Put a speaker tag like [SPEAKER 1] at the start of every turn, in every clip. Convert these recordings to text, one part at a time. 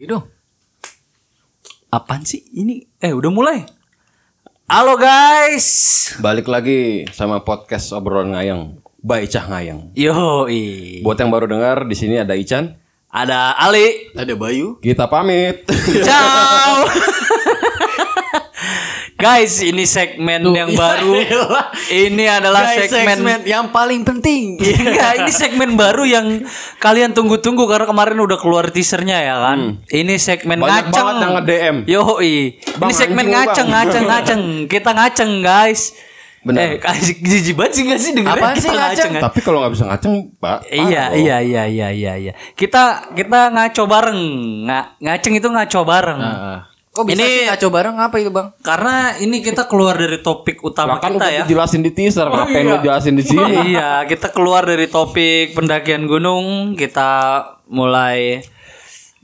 [SPEAKER 1] Gitu. Apaan sih ini? Eh udah mulai. Halo guys.
[SPEAKER 2] Balik lagi sama podcast obrolan ngayang. By Icah Ngayang.
[SPEAKER 1] Yoi.
[SPEAKER 2] Buat yang baru dengar di sini ada Ican.
[SPEAKER 1] Ada Ali.
[SPEAKER 3] Ada Bayu.
[SPEAKER 2] Kita pamit.
[SPEAKER 1] Ciao. guys, ini segmen yang baru. Ini adalah
[SPEAKER 3] Guys,
[SPEAKER 1] segmen
[SPEAKER 3] yang paling penting.
[SPEAKER 1] Iya, enggak, ini segmen baru yang kalian tunggu-tunggu karena kemarin udah keluar teasernya ya kan. Ini segmen
[SPEAKER 2] Hmm. Banyak
[SPEAKER 1] ngaceng.
[SPEAKER 2] banget yang nge-DM.
[SPEAKER 1] Yoi.
[SPEAKER 2] Bang,
[SPEAKER 1] ini segmen
[SPEAKER 2] anjing lu,
[SPEAKER 1] ngaceng,
[SPEAKER 2] Bang.
[SPEAKER 1] ngaceng, ngaceng. Kita ngaceng, guys.
[SPEAKER 2] Benar.
[SPEAKER 1] Eh, kasih jijik banget sih enggak sih dengerin
[SPEAKER 3] Apaan
[SPEAKER 1] kita
[SPEAKER 3] sih ngaceng?
[SPEAKER 1] ngaceng?
[SPEAKER 2] Tapi kalau nggak bisa ngaceng, Pak.
[SPEAKER 1] Iya,
[SPEAKER 2] parah
[SPEAKER 1] iya, iya, iya, iya, iya. Kita kita ngaco bareng. Nga- ngaceng itu ngaco bareng.
[SPEAKER 3] Kok
[SPEAKER 1] Ini-
[SPEAKER 3] bisa sih ngaco bareng apa itu, Bang?
[SPEAKER 1] Karena ini kita keluar dari topik
[SPEAKER 2] loh. Lah
[SPEAKER 1] utama kita
[SPEAKER 2] kan udah
[SPEAKER 1] ya.
[SPEAKER 2] dijelasin di teaser, ngapain lu jelasin di sini?
[SPEAKER 1] iya, kita keluar dari topik pendakian gunung, kita mulai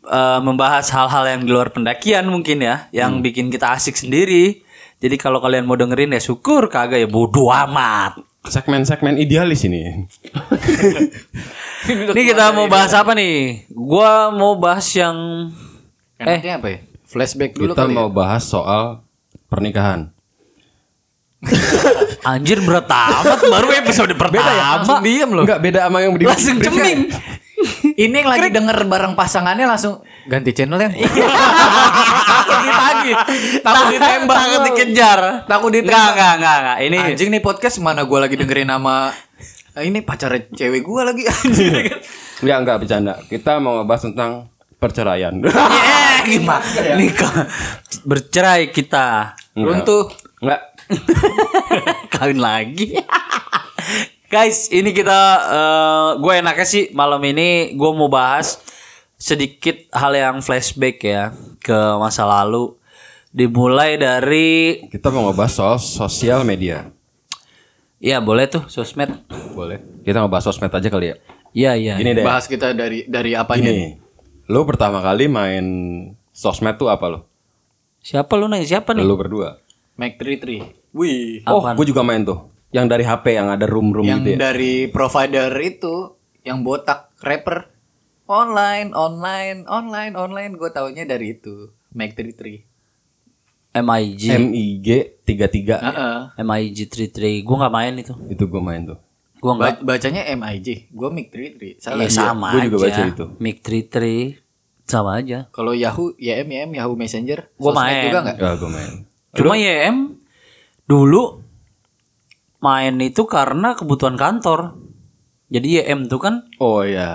[SPEAKER 1] eh, membahas hal-hal yang di luar pendakian mungkin ya,
[SPEAKER 3] Hmm.
[SPEAKER 1] yang bikin kita asik sendiri. Jadi kalau kalian mau dengerin ya syukur, kagak ya bodo amat.
[SPEAKER 2] Segmen-segmen idealis ini.
[SPEAKER 1] Ini kita mau bahas apa nih? Gua mau bahas yang
[SPEAKER 3] Eh, apa ya? Flashback dulu
[SPEAKER 2] Kita
[SPEAKER 3] kali. ya.
[SPEAKER 2] mau bahas soal pernikahan.
[SPEAKER 1] anjir berat amat baru episode pertama.
[SPEAKER 3] ya? Langsung diem loh.
[SPEAKER 2] Enggak beda sama yang di
[SPEAKER 1] Langsung ceming.
[SPEAKER 3] Ini yang lagi denger bareng pasangannya langsung ganti channel ya.
[SPEAKER 1] Takut ditagih.
[SPEAKER 3] Takut ditembak.
[SPEAKER 1] Iya. Takut dikejar.
[SPEAKER 3] Takut ditembak.
[SPEAKER 1] Enggak, enggak, enggak, enggak. Ini
[SPEAKER 3] Anjing nih podcast mana gua lagi dengerin nama eh, ini pacar cewek gua lagi Iya, anjing.
[SPEAKER 2] Enggak, enggak bercanda. Kita mau ngebahas tentang perceraian.
[SPEAKER 1] Yeah, gimana? Nikah. Bercerai kita.
[SPEAKER 3] Runtuh.
[SPEAKER 2] Enggak.
[SPEAKER 1] Kawin lagi. Guys, ini kita eh, gue enaknya sih malam ini gue mau bahas sedikit hal yang flashback ya ke masa lalu. Dimulai dari
[SPEAKER 2] Kita mau ngebahas soal sosial media.
[SPEAKER 1] ya boleh tuh sosmed.
[SPEAKER 2] Boleh. Kita ngebahas sosmed aja kali ya.
[SPEAKER 1] Iya, iya.
[SPEAKER 2] Gini deh.
[SPEAKER 3] Bahas kita dari dari apanya?
[SPEAKER 2] Gini, lu pertama kali main sosmed tuh apa lo?
[SPEAKER 1] Siapa lu nanya siapa nih?
[SPEAKER 2] Lu berdua.
[SPEAKER 3] Mac 33. Wih.
[SPEAKER 2] Oh, gue juga main tuh. Yang dari HP yang ada room-room
[SPEAKER 3] Yang
[SPEAKER 2] gitu ya.
[SPEAKER 3] dari provider itu yang botak rapper online online online online gue taunya dari itu Mac 33.
[SPEAKER 1] MIG.
[SPEAKER 2] MIG 33
[SPEAKER 3] Heeh.
[SPEAKER 1] MIG 33. Gue nggak main itu.
[SPEAKER 2] itu gue main tuh.
[SPEAKER 1] Gue nggak.
[SPEAKER 3] Ba- bacanya MIJ, gue Mic 33. Salah.
[SPEAKER 1] Ya sama
[SPEAKER 2] Iya, gua juga
[SPEAKER 1] aja.
[SPEAKER 2] baca itu.
[SPEAKER 1] Mic 33 sama aja.
[SPEAKER 3] Kalau Yahoo, ya YM, YM, Yahoo Messenger,
[SPEAKER 1] Gua
[SPEAKER 3] sosmed
[SPEAKER 1] main.
[SPEAKER 3] juga nggak?
[SPEAKER 2] Ya gue main.
[SPEAKER 1] Cuma YM dulu main itu karena kebutuhan kantor. Jadi YM tuh kan
[SPEAKER 2] Oh
[SPEAKER 3] iya.
[SPEAKER 2] ya.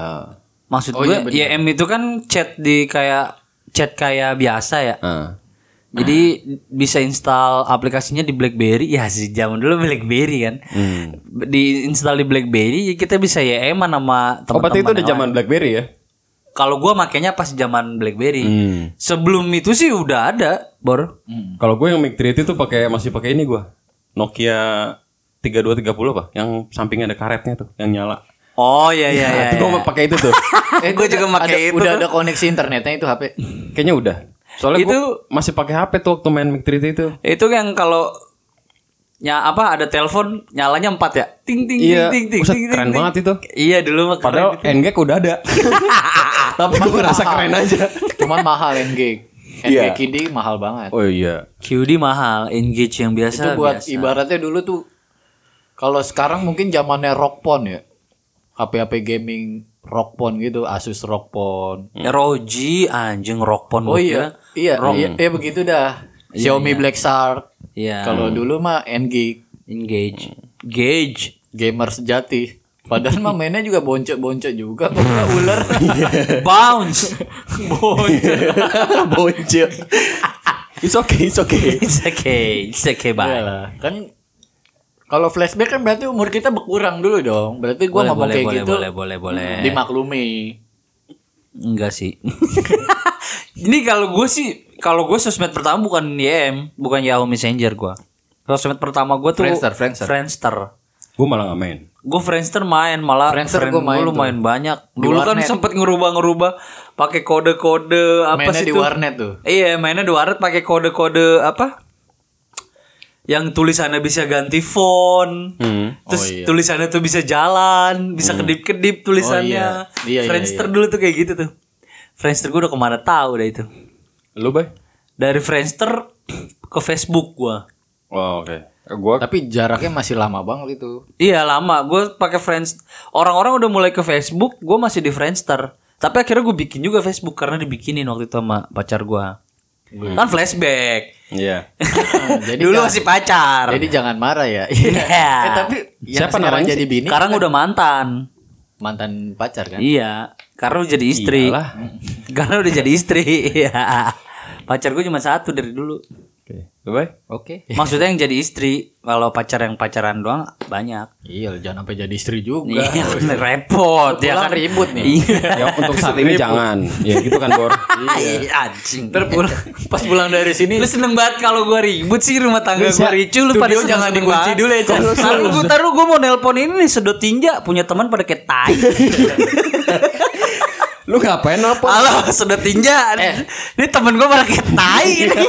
[SPEAKER 1] maksud gue YM itu kan chat di kayak chat kayak biasa ya.
[SPEAKER 2] Ah.
[SPEAKER 1] Jadi
[SPEAKER 2] Nah.
[SPEAKER 1] bisa install aplikasinya di BlackBerry. Ya sih zaman dulu BlackBerry kan.
[SPEAKER 2] Hmm.
[SPEAKER 1] Di install di BlackBerry ya kita bisa YM -an sama
[SPEAKER 2] Oh, berarti itu
[SPEAKER 1] teman-teman.
[SPEAKER 2] udah zaman BlackBerry ya?
[SPEAKER 1] Kalau gua makainya pas zaman BlackBerry.
[SPEAKER 2] Hmm.
[SPEAKER 1] Sebelum itu sih udah ada, Bor.
[SPEAKER 2] Kalau gue yang Mic 33 tuh pakai masih pakai ini gue. Nokia 3230 apa? Yang sampingnya ada karetnya tuh, yang nyala.
[SPEAKER 1] Oh iya iya iya.
[SPEAKER 2] itu
[SPEAKER 1] iya.
[SPEAKER 2] gue pakai itu tuh.
[SPEAKER 1] Eh, gue juga
[SPEAKER 3] ada,
[SPEAKER 1] pakai itu.
[SPEAKER 3] Udah ada koneksi internetnya itu HP.
[SPEAKER 2] Kayaknya udah. Soalnya itu
[SPEAKER 1] Itu-
[SPEAKER 2] masih pakai HP tuh waktu main Mic 33 itu.
[SPEAKER 1] Itu yang kalau ya apa ada telepon nyalanya empat ya. Ting ting
[SPEAKER 2] Iya,
[SPEAKER 1] ting ting ting.
[SPEAKER 2] buset,
[SPEAKER 1] ting,
[SPEAKER 2] keren
[SPEAKER 1] ting.
[SPEAKER 2] banget itu.
[SPEAKER 1] Iya dulu mah keren.
[SPEAKER 2] Padahal NGK udah ada. Tapi gue rasa keren aja.
[SPEAKER 3] Cuman mahal NG. NG
[SPEAKER 2] Iya.
[SPEAKER 3] Kini mahal banget.
[SPEAKER 2] Oh iya.
[SPEAKER 1] QD mahal, engage yang biasa
[SPEAKER 3] itu buat
[SPEAKER 1] biasa.
[SPEAKER 3] ibaratnya dulu tuh kalau sekarang mungkin zamannya Rockpon ya. HP-HP gaming Rockpon gitu, Asus Rockpon.
[SPEAKER 1] Roji anjing rockpon
[SPEAKER 3] Oh
[SPEAKER 1] gua
[SPEAKER 3] iya,
[SPEAKER 1] kira.
[SPEAKER 3] iya, iya, iya begitu dah. Xiaomi Black Shark.
[SPEAKER 1] Iya.
[SPEAKER 3] Kalau dulu mah NG
[SPEAKER 2] Hmm.
[SPEAKER 1] Engage. Gauge.
[SPEAKER 3] gamer sejati. Padahal mah mainnya juga boncok-boncok juga kok nggak ular.
[SPEAKER 1] Bounce. Bounce.
[SPEAKER 3] boncok.
[SPEAKER 2] It's okay, it's okay.
[SPEAKER 1] it's okay. It's okay, bye.
[SPEAKER 3] Iyalah, kan kalau flashback kan berarti umur kita berkurang dulu dong. Berarti gua
[SPEAKER 1] Boleh,
[SPEAKER 3] ngomong
[SPEAKER 1] boleh,
[SPEAKER 3] kayak
[SPEAKER 1] boleh,
[SPEAKER 3] gitu.
[SPEAKER 1] boleh, boleh, boleh.
[SPEAKER 3] Dimaklumi.
[SPEAKER 1] Enggak sih. Ini kalau gue sih, kalau gue sosmed pertama bukan YM, bukan Yahoo Messenger gue. Sosmed pertama gue tuh
[SPEAKER 3] Friendster, Friendster.
[SPEAKER 1] Friendster.
[SPEAKER 2] Gue malah gak main.
[SPEAKER 1] Gue Friendster main malah
[SPEAKER 3] Friendster
[SPEAKER 1] friend
[SPEAKER 3] gua main
[SPEAKER 1] gua lumayan banyak. Dulu kan
[SPEAKER 3] warnet.
[SPEAKER 1] sempet ngerubah-ngerubah pakai kode-kode apa
[SPEAKER 3] Mainnya
[SPEAKER 1] sih
[SPEAKER 3] di
[SPEAKER 1] tuh?
[SPEAKER 3] warnet tuh.
[SPEAKER 1] Iya, mainnya di warnet pakai kode-kode apa? Yang tulisannya bisa ganti font.
[SPEAKER 2] Hmm.
[SPEAKER 3] Oh,
[SPEAKER 1] Terus
[SPEAKER 3] iya.
[SPEAKER 1] tulisannya tuh bisa jalan, bisa kedip-kedip tulisannya.
[SPEAKER 3] Hmm. Iya, iya,
[SPEAKER 1] Friendster dulu tuh kayak gitu tuh. Friendster gue udah kemana tahu dah itu.
[SPEAKER 2] Lu bay?
[SPEAKER 1] Dari Friendster ke Facebook gua.
[SPEAKER 2] Oh, oke. Eh, Gua
[SPEAKER 3] Tapi jaraknya masih lama banget itu.
[SPEAKER 1] Iya lama, gue pakai Friends. Orang-orang udah mulai ke Facebook, gue masih di Friendster. Tapi akhirnya gue bikin juga Facebook karena dibikinin waktu itu sama pacar gue. Kan flashback.
[SPEAKER 2] iya.
[SPEAKER 3] Hmm. jadi
[SPEAKER 1] Dulu
[SPEAKER 3] kan-
[SPEAKER 1] masih pacar.
[SPEAKER 3] Jadi jangan marah ya.
[SPEAKER 1] Iya.
[SPEAKER 3] Eh, tapi yang
[SPEAKER 2] Siapa
[SPEAKER 3] sekarang
[SPEAKER 2] namanya
[SPEAKER 3] jadi bini kan?
[SPEAKER 1] sekarang udah mantan.
[SPEAKER 3] mantan pacar kan?
[SPEAKER 1] Iya, karena udah jadi istri.
[SPEAKER 2] Iyalah.
[SPEAKER 1] Karena udah jadi istri. Iya. Pacar gue cuma satu dari dulu.
[SPEAKER 2] Oke. Lu bay?
[SPEAKER 3] Oke.
[SPEAKER 1] Maksudnya yang jadi istri, kalau pacar yang pacaran doang banyak.
[SPEAKER 3] Iya, jangan sampai jadi istri juga.
[SPEAKER 1] Iya, repot ya
[SPEAKER 3] Pulang
[SPEAKER 1] kan.
[SPEAKER 3] ribut nih.
[SPEAKER 1] Iya.
[SPEAKER 2] Ya untuk saat ini jangan. Ya gitu kan, Bor.
[SPEAKER 1] Iya, anjing.
[SPEAKER 3] Pulang- pas pulang dari sini
[SPEAKER 1] Lu seneng banget kalau gua ribut sih rumah tangga
[SPEAKER 3] Bisa.
[SPEAKER 1] gua ricu lu
[SPEAKER 3] Studio
[SPEAKER 1] pada seneng
[SPEAKER 3] jangan
[SPEAKER 1] seneng
[SPEAKER 3] dikunci
[SPEAKER 1] banget.
[SPEAKER 3] dulu ya, Chan.
[SPEAKER 1] Taruh gua taruh gua mau nelpon ini nih sedot tinja punya teman pada kayak tai.
[SPEAKER 2] Lu ngapain apa?
[SPEAKER 1] Halo sedot tinja.
[SPEAKER 3] Eh.
[SPEAKER 1] Ini temen gua pada kayak tai ini.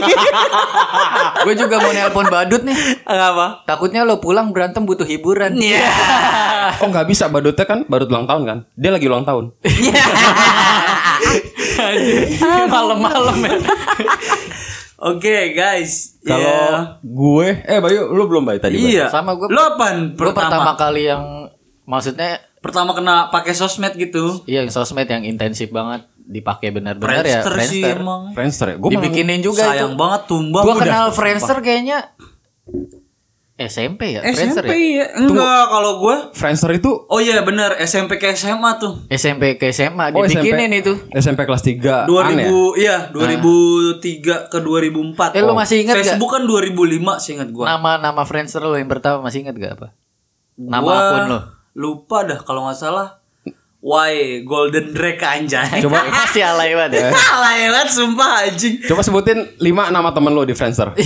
[SPEAKER 3] gue juga mau nelpon badut nih.
[SPEAKER 1] Apa?
[SPEAKER 3] Takutnya lo pulang berantem butuh hiburan.
[SPEAKER 1] Iya.
[SPEAKER 2] Oh nggak bisa badutnya kan badut ulang tahun kan? Dia lagi ulang tahun.
[SPEAKER 1] Malam-malam ya. Oke guys.
[SPEAKER 2] Kalau gue, eh Bayu, lu belum Bayu tadi?
[SPEAKER 1] Iya.
[SPEAKER 2] Bayu?
[SPEAKER 1] iya.
[SPEAKER 3] Sama gua-
[SPEAKER 1] Lu apaan
[SPEAKER 3] Gue pertama
[SPEAKER 1] pertama?
[SPEAKER 3] kali yang maksudnya
[SPEAKER 1] Pertama kena pakai sosmed gitu.
[SPEAKER 3] iya yang sosmed yang intensif banget dipakai benar-benar ya
[SPEAKER 1] Friendster sih
[SPEAKER 3] Friendster.
[SPEAKER 1] emang.
[SPEAKER 2] Friendster ya? Gue
[SPEAKER 3] Dibikinin juga
[SPEAKER 1] Sayang
[SPEAKER 3] itu.
[SPEAKER 1] banget tumbang.
[SPEAKER 3] Gue
[SPEAKER 1] udah.
[SPEAKER 3] kenal Friendster kayaknya SMP ya, Friendster ya.
[SPEAKER 1] SMP ya? Enggak, kalau gue
[SPEAKER 2] Friendster itu
[SPEAKER 1] Oh iya benar SMP ke SMA tuh.
[SPEAKER 3] SMP ke SMA
[SPEAKER 2] oh,
[SPEAKER 3] dibikinin
[SPEAKER 2] SMP
[SPEAKER 3] itu.
[SPEAKER 2] SMP kelas 3
[SPEAKER 1] 2000
[SPEAKER 2] Aneh ya?
[SPEAKER 1] iya 2003 ke 2004.
[SPEAKER 3] Eh, lu masih ingat gak?
[SPEAKER 1] Facebook kan 2005 seingat gua.
[SPEAKER 3] Nama-nama Friendster lo yang pertama masih ingat gak apa? Nama
[SPEAKER 1] Gua
[SPEAKER 3] akun lo.
[SPEAKER 1] Lupa dah kalau nggak salah. Why Golden Drake anjay.
[SPEAKER 2] Coba
[SPEAKER 3] Masih alay banget ya.
[SPEAKER 1] Salah ya kan, sumpah anjing.
[SPEAKER 2] coba sebutin 5 nama temen lu di Friendster.
[SPEAKER 1] Eh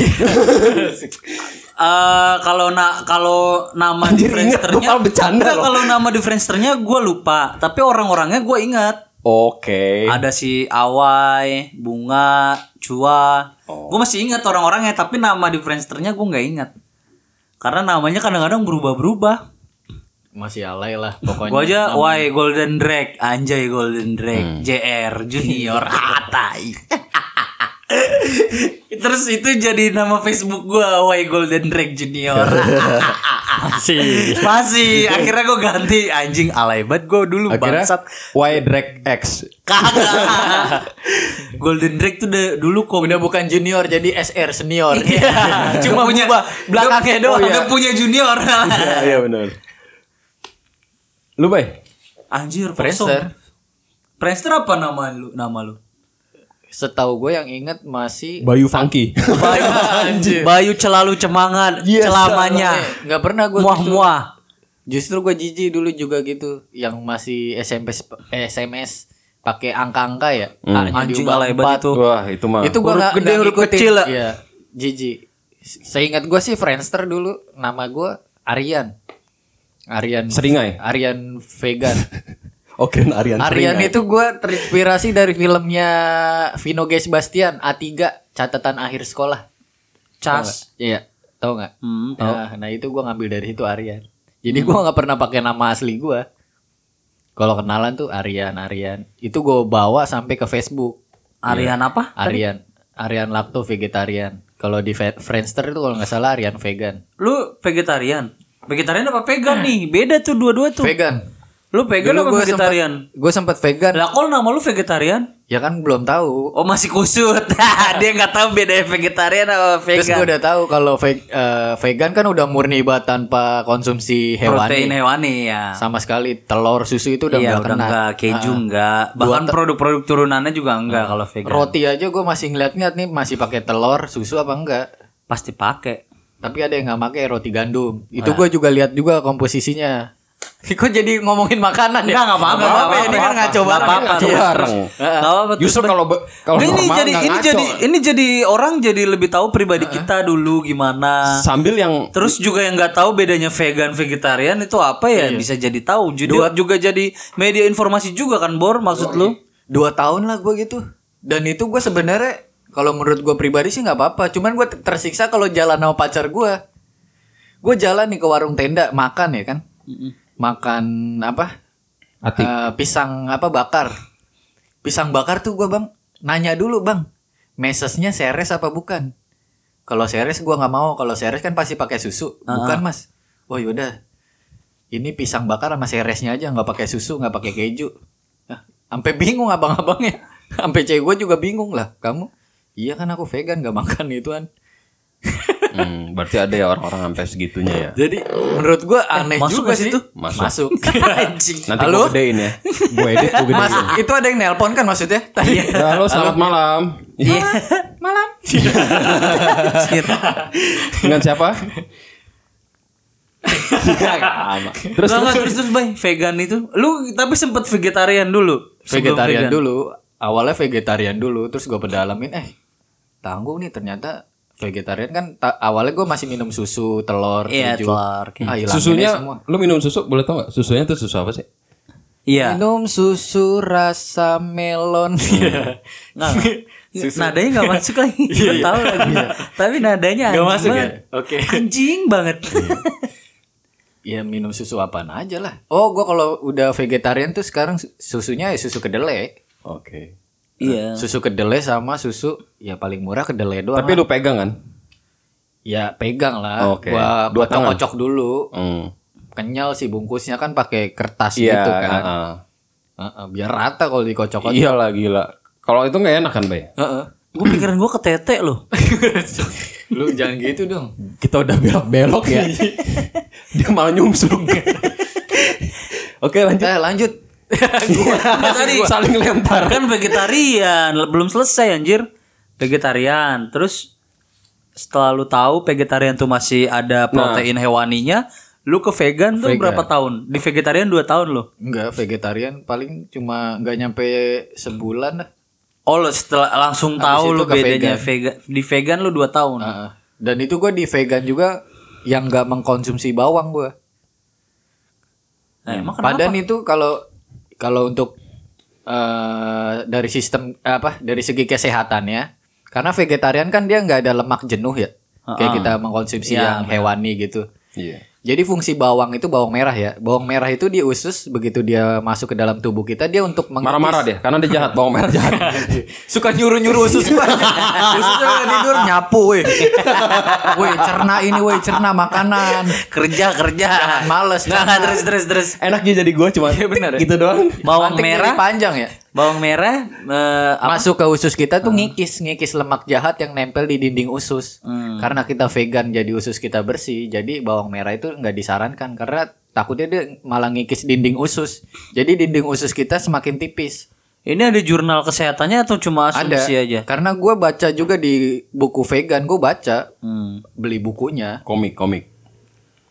[SPEAKER 1] kalau na kalau nama di
[SPEAKER 2] Anjir, inget,
[SPEAKER 1] Friendster-nya
[SPEAKER 2] gua malah bercanda
[SPEAKER 1] Enggak,
[SPEAKER 2] loh.
[SPEAKER 1] kalau nama di Friendster-nya gua lupa, tapi orang-orangnya gua ingat.
[SPEAKER 2] Oke.
[SPEAKER 1] Ada si Awai, Bunga, Cua.
[SPEAKER 2] Oh.
[SPEAKER 1] Gue masih ingat orang-orangnya, tapi nama di Friendster-nya gue nggak ingat. Karena namanya kadang-kadang berubah-berubah.
[SPEAKER 3] Masih alay lah
[SPEAKER 1] Gue aja
[SPEAKER 3] pokoknya.
[SPEAKER 1] Wai Golden Drake, Anjay Golden Drake, JR Junior Ah, Hatai. Terus itu jadi nama Facebook gue Wai Golden Drake Junior.
[SPEAKER 3] Masih.
[SPEAKER 1] Masih akhirnya gue ganti anjing alay banget gue dulu
[SPEAKER 2] Akhirnya
[SPEAKER 1] bangsat.
[SPEAKER 2] Y Drag X.
[SPEAKER 1] Kagak. Golden Drake tuh da- dulu kok
[SPEAKER 3] Udah bukan junior jadi SR senior. Iya.
[SPEAKER 1] cuma Iya. punya belakangnya doang
[SPEAKER 2] iya.
[SPEAKER 1] udah punya junior
[SPEAKER 2] Iya benar. Lu Bay?
[SPEAKER 1] anjir
[SPEAKER 3] Friendster.
[SPEAKER 1] Friendster Friendster apa nama lu nama lu
[SPEAKER 3] Setahu gue yang inget masih
[SPEAKER 2] Bayu Funky.
[SPEAKER 1] Bayu,
[SPEAKER 3] Anjir.
[SPEAKER 1] Bayu celalu cemangan
[SPEAKER 2] Yes,
[SPEAKER 1] celamanya
[SPEAKER 3] Eh, nggak pernah gue
[SPEAKER 1] muah muah
[SPEAKER 3] Justru gue jijik dulu juga gitu yang masih SMP sp- SMS pakai angka-angka ya. A-nya
[SPEAKER 1] Hmm. anjing
[SPEAKER 3] diubah
[SPEAKER 1] alay
[SPEAKER 3] empat.
[SPEAKER 1] banget itu
[SPEAKER 2] Wah, itu mah.
[SPEAKER 3] Itu gue
[SPEAKER 1] Huruf
[SPEAKER 3] nggak
[SPEAKER 1] gede,
[SPEAKER 3] nggak
[SPEAKER 1] huruf
[SPEAKER 3] ngikutin.
[SPEAKER 1] kecil ya.
[SPEAKER 3] Iya, jijik. Seingat gue sih Friendster dulu nama gue Aryan. Arian
[SPEAKER 2] Seringai.
[SPEAKER 3] Aryan Vegan.
[SPEAKER 2] Oke, Oh, Aryan.
[SPEAKER 3] Aryan
[SPEAKER 2] Seringai.
[SPEAKER 3] itu gue terinspirasi dari filmnya Vino G. Sebastian A3 Catatan Akhir Sekolah.
[SPEAKER 1] cas
[SPEAKER 3] Tau nggak? Iya, tau nggak?
[SPEAKER 1] Hmm,
[SPEAKER 3] Nah, nah itu gua ngambil dari situ Aryan. Jadi gua nggak pernah pakai nama asli gua. Kalau kenalan tuh Aryan, Aryan. Itu gua bawa sampai ke Facebook.
[SPEAKER 1] Arian apa
[SPEAKER 3] Aryan, Aryan Lakto vegetarian. Kalau di Fe- Friendster itu kalau nggak salah Aryan vegan.
[SPEAKER 1] lu vegetarian vegetarian apa vegan nih beda tuh dua-dua tuh
[SPEAKER 3] Vegan.
[SPEAKER 1] lu vegan
[SPEAKER 3] Nah. Dulu
[SPEAKER 1] apa
[SPEAKER 3] gua
[SPEAKER 1] vegetarian
[SPEAKER 3] Gue sempat vegan.
[SPEAKER 1] lah kalau nama lu vegetarian
[SPEAKER 3] Ya kan belum tahu.
[SPEAKER 1] Oh masih kusut Dia nggak tahu beda ya, vegetarian apa vegan
[SPEAKER 3] Terus gue udah tahu kalau ve- eh, vegan kan udah murni banget tanpa konsumsi
[SPEAKER 1] Protein
[SPEAKER 3] hewani.
[SPEAKER 1] hewani ya
[SPEAKER 3] Sama sekali telur susu itu udah
[SPEAKER 1] iya,
[SPEAKER 3] nggak Ah.
[SPEAKER 1] udah
[SPEAKER 3] kena.
[SPEAKER 1] enggak keju enggak. Bahkan produk-produk turunannya juga enggak
[SPEAKER 3] Ah.
[SPEAKER 1] kalau vegan.
[SPEAKER 3] Roti aja gue masih ngeliat-ngeliat nih masih pakai telur, susu apa enggak.
[SPEAKER 1] Pasti pakai.
[SPEAKER 3] Tapi ada yang nggak pakai roti gandum.
[SPEAKER 1] Iya.
[SPEAKER 3] Itu gue juga lihat juga komposisinya. Kok jadi ngomongin makanan ya?
[SPEAKER 1] Enggak, enggak apa-apa,
[SPEAKER 3] Nggak apa-apa,
[SPEAKER 1] nggak
[SPEAKER 3] ini
[SPEAKER 1] apa-apa.
[SPEAKER 3] kan ngaco
[SPEAKER 1] Nggak
[SPEAKER 3] bareng.
[SPEAKER 1] apa-apa,
[SPEAKER 3] Ngaco
[SPEAKER 1] terus,
[SPEAKER 3] bareng.
[SPEAKER 2] terus.
[SPEAKER 1] Iya, Nggak apa-apa, terus
[SPEAKER 2] Justru
[SPEAKER 1] ben-
[SPEAKER 2] kalau be- kalau
[SPEAKER 1] ini
[SPEAKER 2] normal
[SPEAKER 1] jadi
[SPEAKER 2] nggak
[SPEAKER 1] ini
[SPEAKER 2] ngaco.
[SPEAKER 1] jadi ini jadi orang jadi lebih tahu pribadi kita dulu gimana.
[SPEAKER 2] sambil yang
[SPEAKER 1] Terus juga yang nggak tahu bedanya vegan vegetarian itu apa ya bisa jadi tahu. Jadi juga jadi media informasi juga kan Bor maksud lu?
[SPEAKER 3] Dua tahun lah gue gitu. Dan itu gue sebenarnya kalau menurut gue pribadi sih nggak apa-apa. Cuman gue tersiksa kalau jalan sama pacar gue. Gue jalan nih ke warung tenda makan ya kan. Makan apa?
[SPEAKER 2] Atik.
[SPEAKER 3] Eh, pisang apa bakar. pisang bakar tuh gua bang nanya dulu bang mesesnya seres apa bukan kalau seres gua nggak mau kalau seres kan pasti pakai susu bukan mas wah yaudah ini pisang bakar sama seresnya aja nggak pakai susu nggak pakai keju Nah, sampai bingung abang-abangnya sampai cewek gua juga bingung lah kamu iya kan aku vegan gak makan ituan
[SPEAKER 2] Hmm, berarti ada ya orang-orang sampai segitunya ya.
[SPEAKER 3] jadi menurut gua aneh
[SPEAKER 1] masuk
[SPEAKER 3] juga
[SPEAKER 1] gak
[SPEAKER 3] sih
[SPEAKER 1] sih?
[SPEAKER 3] itu
[SPEAKER 2] Masuk.
[SPEAKER 3] masuk,
[SPEAKER 1] Anjing.
[SPEAKER 2] Nanti
[SPEAKER 3] Halo?
[SPEAKER 2] gue gedein ya. Gue edit, gue gedein.
[SPEAKER 3] masuk itu ada yang nelpon kan maksudnya tadi
[SPEAKER 2] Ya, halo, selamat malam.
[SPEAKER 1] Iya.
[SPEAKER 3] malam
[SPEAKER 1] Gitu.
[SPEAKER 2] Dengan siapa?
[SPEAKER 1] Terus terus, terus terus Bay, vegan itu. Lu tapi sempet vegetarian dulu. sebelum
[SPEAKER 3] vegetarian
[SPEAKER 1] vegan.
[SPEAKER 3] dulu awalnya vegetarian dulu terus gue pedalamin eh tanggung nih ternyata vegetarian kan ta- awalnya gue masih minum susu telur
[SPEAKER 1] Iya,
[SPEAKER 3] keju.
[SPEAKER 1] telur, keju.
[SPEAKER 3] ah, hilangin
[SPEAKER 2] Susunya,
[SPEAKER 3] deh semua
[SPEAKER 2] lu minum susu boleh tau gak? Susunya tuh susu apa sih?
[SPEAKER 1] Iya.
[SPEAKER 3] minum susu rasa melon
[SPEAKER 1] Nah, nadanya gak masuk lagi. Gua tahu lagi. Tapi nadanya
[SPEAKER 3] Nggak
[SPEAKER 1] anjing
[SPEAKER 3] masuk ya?
[SPEAKER 1] banget.
[SPEAKER 3] Oke.
[SPEAKER 1] Anjing banget.
[SPEAKER 3] ya minum susu apaan aja lah oh gue kalau udah vegetarian tuh sekarang su- susunya ya susu kedelai
[SPEAKER 2] Oke.
[SPEAKER 1] Iya.
[SPEAKER 3] susu kedelai sama susu ya paling murah kedelai doang
[SPEAKER 2] Tapi lu pegang kan?
[SPEAKER 3] ya pegang lah
[SPEAKER 2] Oke.
[SPEAKER 3] gua
[SPEAKER 2] Dua tangan?
[SPEAKER 3] kocok-kocok dulu
[SPEAKER 2] Hmm.
[SPEAKER 3] kenyal sih bungkusnya kan pakai kertas
[SPEAKER 2] Iya
[SPEAKER 3] gitu kan
[SPEAKER 2] heeh.
[SPEAKER 3] Heeh, biar rata kalau dikocok
[SPEAKER 2] Iya lah gila. Kalau itu nggak enak kan, Bay?
[SPEAKER 3] Heeh.
[SPEAKER 1] Gue pikiran gue ketete loh.
[SPEAKER 3] Lu jangan gitu dong.
[SPEAKER 2] Kita udah belok-belok ya. Dia malah nyumsung. Oke, lanjut.
[SPEAKER 3] Eh, lanjut.
[SPEAKER 1] tadi.
[SPEAKER 2] saling lempar.
[SPEAKER 1] Kan vegetarian, belum selesai anjir. Vegetarian. Terus setelah lu tahu vegetarian tuh masih
[SPEAKER 3] Nah.
[SPEAKER 1] ada protein hewaninya, lu ke vegan tuh berapa tahun? Di vegetarian 2 tahun loh.
[SPEAKER 3] Enggak, vegetarian paling cuma nggak nyampe sebulan lah.
[SPEAKER 1] Oh, lo setelah langsung tahu
[SPEAKER 3] itu
[SPEAKER 1] lu
[SPEAKER 3] ke Ah.
[SPEAKER 1] bedanya vegan. Di vegan lu 2 tahun.
[SPEAKER 3] Heeh. Dan itu gua di vegan juga yang nggak mengkonsumsi bawang gua.
[SPEAKER 1] Nah,
[SPEAKER 3] Hmm.
[SPEAKER 1] emang kenapa?
[SPEAKER 3] Padan itu kalau kalau untuk eh dari sistem apa dari segi kesehatannya karena vegetarian kan dia nggak ada lemak jenuh ya kayak kita mengkonsumsi
[SPEAKER 1] Iya,
[SPEAKER 3] yang hewani gitu
[SPEAKER 2] Iya.
[SPEAKER 3] jadi fungsi bawang itu bawang merah ya bawang merah itu di usus begitu dia masuk ke dalam tubuh kita dia untuk meng-
[SPEAKER 2] Marah-marah deh, karena dia jahat, bawang merah jahat.
[SPEAKER 3] suka nyuruh nyuruh usus gua ususnya lagi tidur nyapu weh weh cerna ini weh cerna makanan
[SPEAKER 1] kerja kerja
[SPEAKER 3] Jangan males,
[SPEAKER 1] nggak
[SPEAKER 3] jangan.
[SPEAKER 1] terus terus terus
[SPEAKER 2] Enaknya jadi gua cuma gitu doang.
[SPEAKER 1] bawang
[SPEAKER 3] Mantik jadi
[SPEAKER 1] merah
[SPEAKER 3] panjang ya
[SPEAKER 1] bawang merah eh, apa? Ah.
[SPEAKER 3] masuk ke usus kita tuh ngikis ngikis lemak jahat yang nempel di dinding usus
[SPEAKER 1] Hmm.
[SPEAKER 3] karena kita vegan jadi usus kita bersih jadi bawang merah itu nggak disarankan karena takutnya dia malah ngikis dinding usus jadi dinding usus kita semakin tipis
[SPEAKER 1] ini ada jurnal kesehatannya atau cuma
[SPEAKER 3] ada
[SPEAKER 1] asumsi aja
[SPEAKER 3] karena gue baca juga di buku vegan gue baca
[SPEAKER 1] Hmm.
[SPEAKER 3] beli bukunya
[SPEAKER 2] Komik, komik.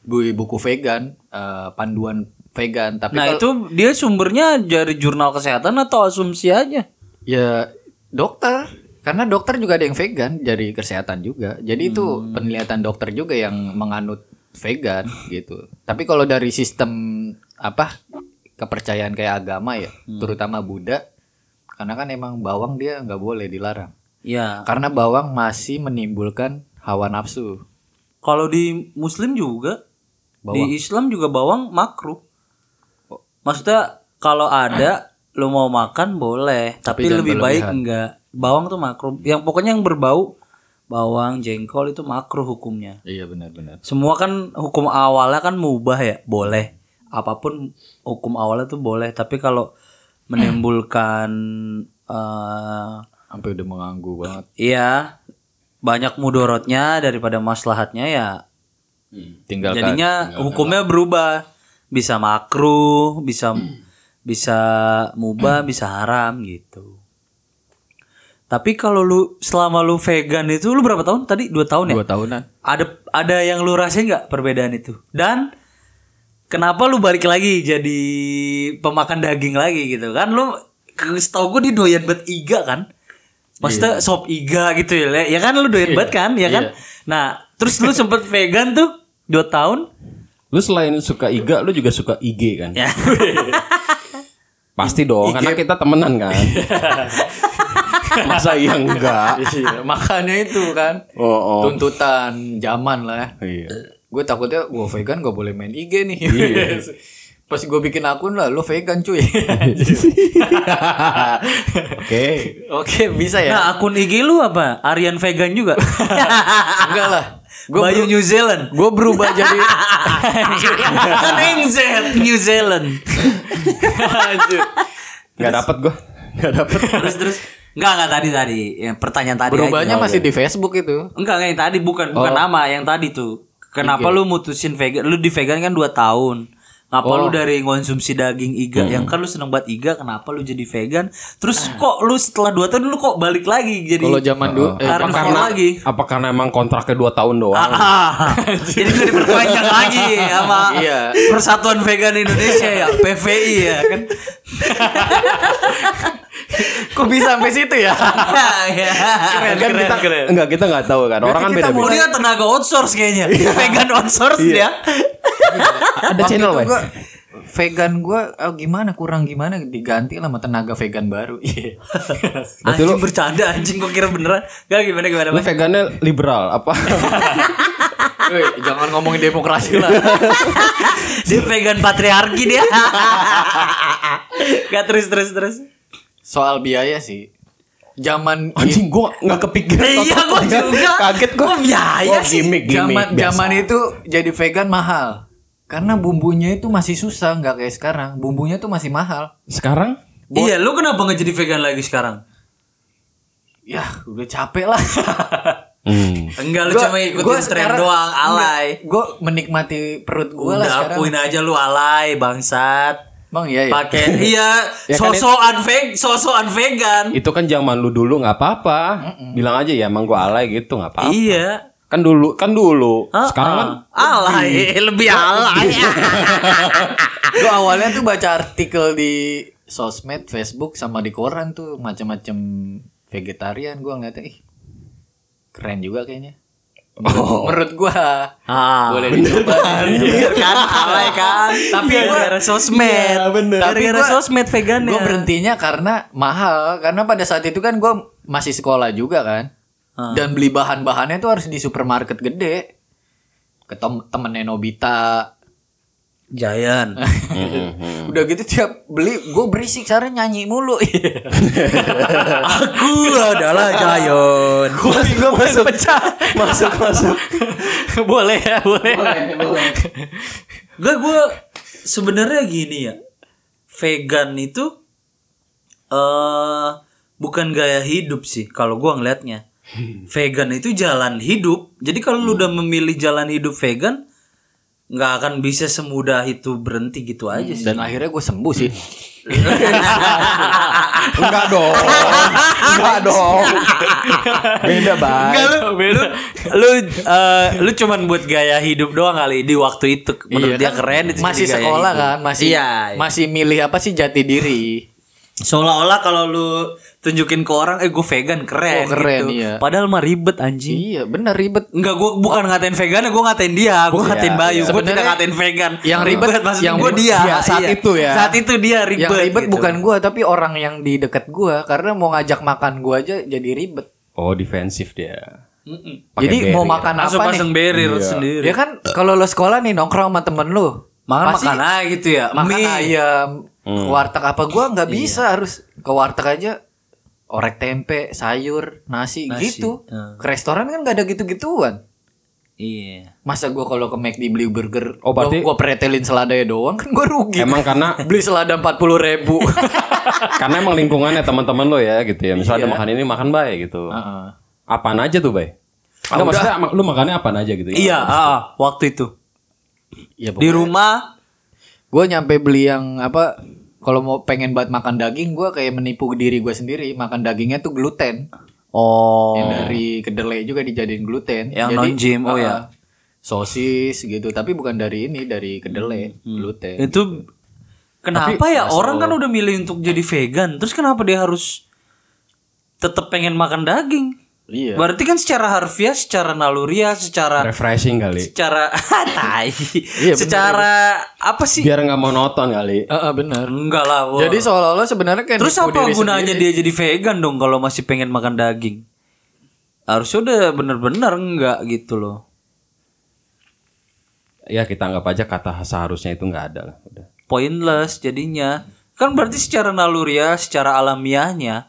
[SPEAKER 3] beli buku vegan eh, panduan vegan tapi
[SPEAKER 1] nah
[SPEAKER 3] kalau-
[SPEAKER 1] itu dia sumbernya dari jurnal kesehatan atau asumsi aja
[SPEAKER 3] Ya dokter, karena dokter juga ada yang vegan jadi kesehatan juga. Jadi itu penelitian dokter juga yang menganut vegan gitu. Tapi kalau dari sistem apa kepercayaan kayak agama ya, terutama Buddha, karena kan emang bawang dia nggak boleh dilarang.
[SPEAKER 1] ya
[SPEAKER 3] Karena bawang masih menimbulkan hawa nafsu.
[SPEAKER 1] kalau di muslim juga
[SPEAKER 3] Bawang.
[SPEAKER 1] di islam juga bawang makruh maksudnya kalau ada lu mau makan boleh tapi,
[SPEAKER 3] jangan
[SPEAKER 1] lebih baik
[SPEAKER 3] berlebihan.
[SPEAKER 1] enggak bawang tuh makruh yang pokoknya yang berbau bawang jengkol itu makruh hukumnya
[SPEAKER 3] Iya benar-benar.
[SPEAKER 1] Semua kan hukum awalnya kan mubah ya, boleh. Apapun hukum awalnya tuh boleh, tapi kalau menimbulkan eh
[SPEAKER 3] Sampai udah mengganggu banget.
[SPEAKER 1] iya banyak mudorotnya daripada maslahatnya ya.
[SPEAKER 3] Tinggalkan.
[SPEAKER 1] jadinya hukumnya berubah. Bisa makruh, bisa bisa mubah, bisa haram gitu. Tapi kalau lu selama lu vegan itu lu berapa tahun tadi? Dua tahun ya?
[SPEAKER 3] dua tahunan.
[SPEAKER 1] ada ada yang lu rasain nggak perbedaan itu dan kenapa lu balik lagi jadi pemakan daging lagi gitu kan lu ke- setahu gue dia doyan banget iga kan
[SPEAKER 3] Iya.
[SPEAKER 1] maksudnya sop iga gitu ya Le. ya kan lu doyan banget kan ya kan nah terus lu sempet vegan tuh dua tahun
[SPEAKER 2] Lu selain suka iga, lu juga suka IG kan?
[SPEAKER 1] ya
[SPEAKER 2] Pasti dong, karena kita temenan kan. Masa yang enggak?
[SPEAKER 3] Iya, makanya itu kan.
[SPEAKER 2] Oh, oh.
[SPEAKER 3] Tuntutan zaman lah. ya.
[SPEAKER 2] Iya. Iya.
[SPEAKER 3] gue takutnya gue vegan gak boleh main IG nih Pas gue bikin akun lah, lo vegan cuy.
[SPEAKER 2] Oke.
[SPEAKER 3] Oke, bisa ya?
[SPEAKER 1] Nah akun IG lu apa? Aryan Vegan juga.
[SPEAKER 3] Enggak lah. Gue
[SPEAKER 1] Bayu New Zealand.
[SPEAKER 3] gue berubah jadi
[SPEAKER 1] kan NZ New Zealand.
[SPEAKER 2] Nggak dapat gua. Nggak dapat.
[SPEAKER 1] terus terus enggak enggak tadi tadi yang pertanyaan tadi aja.
[SPEAKER 3] berubahnya
[SPEAKER 2] ya.
[SPEAKER 3] masih di Facebook itu.
[SPEAKER 1] Enggak enggak yang tadi bukan bukan
[SPEAKER 2] Oh.
[SPEAKER 1] nama yang tadi tuh. Kenapa lu mutusin vegan? Lu di vegan kan 2 tahun. Kenapa
[SPEAKER 2] Oh.
[SPEAKER 1] lu dari konsumsi daging iga
[SPEAKER 2] Hmm.
[SPEAKER 1] yang kan lu seneng banget iga, kenapa lu jadi vegan? Terus kok lu setelah 2 tahun lu kok balik lagi jadi
[SPEAKER 3] Kalau zaman dulu eh,
[SPEAKER 1] Harus
[SPEAKER 2] Apa
[SPEAKER 1] full
[SPEAKER 2] karena
[SPEAKER 1] lagi.
[SPEAKER 2] apa karena emang kontraknya 2 tahun doang?
[SPEAKER 1] Ah, jadi lu diperpanjang lagi sama
[SPEAKER 3] Iya.
[SPEAKER 1] Persatuan Vegan Indonesia ya, PVI ya kan.
[SPEAKER 3] kok bisa sampai situ
[SPEAKER 2] Iya.
[SPEAKER 3] ya?
[SPEAKER 1] ya.
[SPEAKER 2] kan kita enggak kita nggak tahu kan. Orang kan beda-beda.
[SPEAKER 3] kita
[SPEAKER 2] Iya.
[SPEAKER 1] Kemudian tenaga outsource kayaknya. vegan outsource dia.
[SPEAKER 2] Ada channel, Weh.
[SPEAKER 3] Gua, vegan gue gimana kurang gimana diganti lah sama tenaga vegan baru. Iya.
[SPEAKER 2] Berarti
[SPEAKER 1] anjing
[SPEAKER 2] lu-
[SPEAKER 1] bercanda anjing gua kira beneran. Gak gimana gimana.
[SPEAKER 2] Lu vegannya liberal apa?
[SPEAKER 3] Weh, jangan ngomongin demokrasi lah.
[SPEAKER 1] dia vegan patriarki dia. Gak terus terus terus.
[SPEAKER 3] Soal biaya sih. Zaman
[SPEAKER 2] Anjing gua nggak kepikiran.
[SPEAKER 1] Iya gua juga.
[SPEAKER 2] Kaget gua.
[SPEAKER 1] Kok biaya
[SPEAKER 2] Oh,
[SPEAKER 1] sih?
[SPEAKER 2] gimmick, gimmick.
[SPEAKER 3] Iya zaman zaman itu jadi vegan mahal. Karena bumbunya itu masih susah, nggak kayak sekarang. Bumbunya tuh masih mahal.
[SPEAKER 2] Sekarang
[SPEAKER 1] Iya, lu kenapa nggak jadi vegan lagi sekarang?
[SPEAKER 3] Yah, udah capek lah.
[SPEAKER 2] Hmm.
[SPEAKER 1] Enggak lu cuma ikutin tren doang alay.
[SPEAKER 3] Gue menikmati perut gue
[SPEAKER 1] Udah
[SPEAKER 3] lah sekarang.
[SPEAKER 1] akuin aja lu alay bangsat.
[SPEAKER 3] Bang, iya ya.
[SPEAKER 1] Pakai iya
[SPEAKER 2] Ya kan,
[SPEAKER 1] sosokan veg sosokan vegan.
[SPEAKER 2] Itu kan zaman lu dulu nggak apa-apa. Bilang aja ya emang gua alay gitu nggak apa-apa.
[SPEAKER 1] Iya.
[SPEAKER 2] Kan dulu, kan dulu.
[SPEAKER 1] Ah,
[SPEAKER 2] Sekarang
[SPEAKER 1] ah.
[SPEAKER 2] kan Iya.
[SPEAKER 1] alay, lebih alay.
[SPEAKER 3] Gue awalnya tuh baca artikel di sosmed, Facebook sama di koran tuh macam-macam vegetarian. Gue ngeliatnya, ih keren juga kayaknya.
[SPEAKER 1] Oh.
[SPEAKER 3] Menurut, menurut gue.
[SPEAKER 1] Ah.
[SPEAKER 3] Boleh dicoba.
[SPEAKER 1] Bener kan alay kan tapi gara-gara sosmed
[SPEAKER 2] Iya, bener.
[SPEAKER 1] gara-gara
[SPEAKER 3] Tapi gua-
[SPEAKER 1] sosmed vegan
[SPEAKER 3] Gue berhentinya karena mahal. Karena pada saat itu kan gue masih sekolah juga kan.
[SPEAKER 1] Ah.
[SPEAKER 3] Dan beli bahan-bahannya tuh harus di supermarket gede. Ke tem- temennya Nobita.
[SPEAKER 1] Giant
[SPEAKER 2] Hmm,
[SPEAKER 3] Udah gitu tiap beli gue berisik seharian nyanyi mulu.
[SPEAKER 1] aku adalah Giant
[SPEAKER 2] gue masuk pecah masuk masuk
[SPEAKER 3] boleh ya, boleh.
[SPEAKER 1] gue gue sebenarnya gini ya vegan itu eh bukan gaya hidup sih kalau gua ngelihatnya vegan itu jalan hidup jadi kalau lu
[SPEAKER 3] Hmm.
[SPEAKER 1] udah memilih jalan hidup vegan nggak akan bisa semudah itu berhenti gitu aja sih
[SPEAKER 3] Dan akhirnya gue sembuh sih.
[SPEAKER 2] enggak dong enggak dong kan beda
[SPEAKER 1] Enggak
[SPEAKER 2] banget
[SPEAKER 1] lu, lu, lu, eh, lu cuman buat gaya hidup doang kali di waktu itu menurut dia
[SPEAKER 3] Iya kan,
[SPEAKER 1] keren itu
[SPEAKER 3] Masih
[SPEAKER 1] jadi gaya
[SPEAKER 3] sekolah
[SPEAKER 1] hidup.
[SPEAKER 3] kan, masih
[SPEAKER 1] ya. iya, iya. Hmm.
[SPEAKER 3] masih milih apa sih jati diri.
[SPEAKER 1] seolah-olah kalau lu tunjukin ke orang eh gue vegan keren,
[SPEAKER 3] Oh, keren,
[SPEAKER 1] gitu.
[SPEAKER 3] iya.
[SPEAKER 1] padahal mah ribet anjing
[SPEAKER 3] Iya, bener ribet.
[SPEAKER 1] Enggak, gue bukan ngatain vegan, gue ngatain dia, gue ngatain Bayu, gue
[SPEAKER 3] Iya, Sebenarnya
[SPEAKER 1] tidak ngatain vegan.
[SPEAKER 3] yang ribet-
[SPEAKER 1] maksud
[SPEAKER 3] yang
[SPEAKER 1] gue
[SPEAKER 3] ribet
[SPEAKER 1] dia, Iya.
[SPEAKER 3] dia saat itu ya.
[SPEAKER 1] Saat itu dia ribet.
[SPEAKER 3] yang ribet
[SPEAKER 1] gitu.
[SPEAKER 3] bukan gue tapi orang yang di deket gue karena mau ngajak makan gue aja jadi ribet.
[SPEAKER 2] oh defensif dia
[SPEAKER 1] Mm-mm.
[SPEAKER 2] Pakai ya.
[SPEAKER 3] jadi mau
[SPEAKER 2] barrier.
[SPEAKER 3] makan
[SPEAKER 1] Langsung
[SPEAKER 3] apa
[SPEAKER 1] pasang
[SPEAKER 3] nih?
[SPEAKER 1] barrier sendiri.
[SPEAKER 3] Ya kan kalau lo sekolah nih nongkrong sama temen lo
[SPEAKER 1] makan
[SPEAKER 3] pasti
[SPEAKER 1] makan aja gitu ya.
[SPEAKER 3] makan
[SPEAKER 1] mie. Iya.
[SPEAKER 3] ayam
[SPEAKER 2] Hmm.
[SPEAKER 3] warteg apa gue nggak bisa harus ke warteg aja orek tempe sayur nasi,
[SPEAKER 1] Nasi,
[SPEAKER 3] gitu
[SPEAKER 1] eh.
[SPEAKER 3] ke restoran kan nggak ada gitu gituan
[SPEAKER 1] Iya.
[SPEAKER 3] masa gue kalau ke McD beli burger
[SPEAKER 2] Oh, berarti-
[SPEAKER 3] gue pretelin seladanya doang kan gue
[SPEAKER 1] Iya.
[SPEAKER 3] rugi
[SPEAKER 2] emang karena
[SPEAKER 3] beli selada empat puluh ribu
[SPEAKER 2] karena emang lingkungannya teman-teman lo ya gitu ya
[SPEAKER 1] Iya.
[SPEAKER 2] misalnya ada makan ini makan bay gitu
[SPEAKER 1] Ah,
[SPEAKER 2] apaan aja tuh bay Enggak maksudnya ma- lu makannya apaan aja gitu
[SPEAKER 1] Iya, ah, ah, waktu itu.
[SPEAKER 3] ya
[SPEAKER 1] Di rumah
[SPEAKER 3] gue nyampe beli yang apa kalau mau pengen banget makan daging gue kayak menipu diri gue sendiri makan dagingnya tuh gluten
[SPEAKER 1] Oh.
[SPEAKER 3] Yang dari kedelai juga dijadiin gluten.
[SPEAKER 1] Yang non-GMO
[SPEAKER 3] uh-uh,
[SPEAKER 1] ya?
[SPEAKER 3] Sosis gitu, tapi bukan dari ini, dari kedelai, gluten.
[SPEAKER 1] Itu
[SPEAKER 3] gitu.
[SPEAKER 1] kenapa ya orang kan udah milih untuk jadi vegan, terus kenapa dia harus tetap pengen makan daging?
[SPEAKER 3] Iya.
[SPEAKER 1] Berarti kan secara harfiah, secara naluriah, secara
[SPEAKER 2] refreshing kali
[SPEAKER 1] secara tai.
[SPEAKER 3] Iya, bener, iya.
[SPEAKER 1] secara apa sih?
[SPEAKER 2] biar nggak monoton kali
[SPEAKER 3] Heeh, benar.
[SPEAKER 1] Enggak lah. Bo.
[SPEAKER 3] Jadi seolah-olah sebenarnya kayak
[SPEAKER 1] terus
[SPEAKER 3] nipu
[SPEAKER 1] apa
[SPEAKER 3] diri
[SPEAKER 1] gunanya
[SPEAKER 3] sendiri.
[SPEAKER 1] dia jadi vegan dong kalau masih pengen makan daging? Harusnya udah bener-bener enggak gitu loh.
[SPEAKER 2] ya kita anggap aja kata seharusnya itu nggak ada lah udah
[SPEAKER 1] pointless jadinya. Kan berarti secara naluriah, secara alamiahnya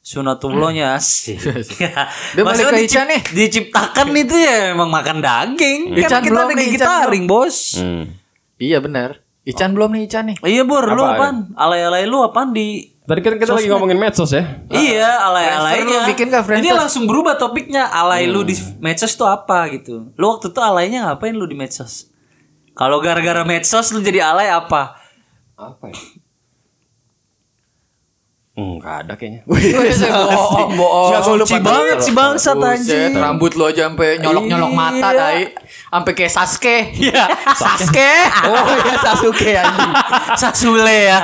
[SPEAKER 1] sunatullahnya sih.
[SPEAKER 3] Hmm. Iya, Dia balik ke Ican nih.
[SPEAKER 1] Diciptakan itu ya emang makan daging. Kan kita
[SPEAKER 3] Ican belum
[SPEAKER 1] lagi
[SPEAKER 3] nih, Ican
[SPEAKER 1] gitaring, Bos.
[SPEAKER 2] Hmm.
[SPEAKER 3] Iya benar. Ican belum nih Ican nih.
[SPEAKER 1] Iya, Bur, lu
[SPEAKER 2] Apa?
[SPEAKER 1] apaan? Alay-alay lu apaan di
[SPEAKER 2] Tadi kan kita lagi ngomongin medsos ya.
[SPEAKER 1] Iya,
[SPEAKER 3] Ah, Friendster
[SPEAKER 1] alay-alaynya.
[SPEAKER 3] lu bikin nggak
[SPEAKER 1] Ini
[SPEAKER 3] friendster? Hmm.
[SPEAKER 1] langsung berubah topiknya. Alay lu di medsos tuh apa gitu. Lu waktu itu alaynya ngapain lu di medsos? Kalau gara-gara medsos lu jadi alay apa?
[SPEAKER 2] Apa ya? Enggak Hmm, ada kayaknya.
[SPEAKER 3] bohong, bohong.
[SPEAKER 1] Gak suci banget sih bangsat
[SPEAKER 3] Buset,
[SPEAKER 1] anjing.
[SPEAKER 3] rambut lo aja sampai nyolok-nyolok mata
[SPEAKER 1] Iya.
[SPEAKER 3] tai. Sampai kayak Sasuke. Iya, Sasuke. Oh iya Sasuke anjing.
[SPEAKER 1] Sasule ya.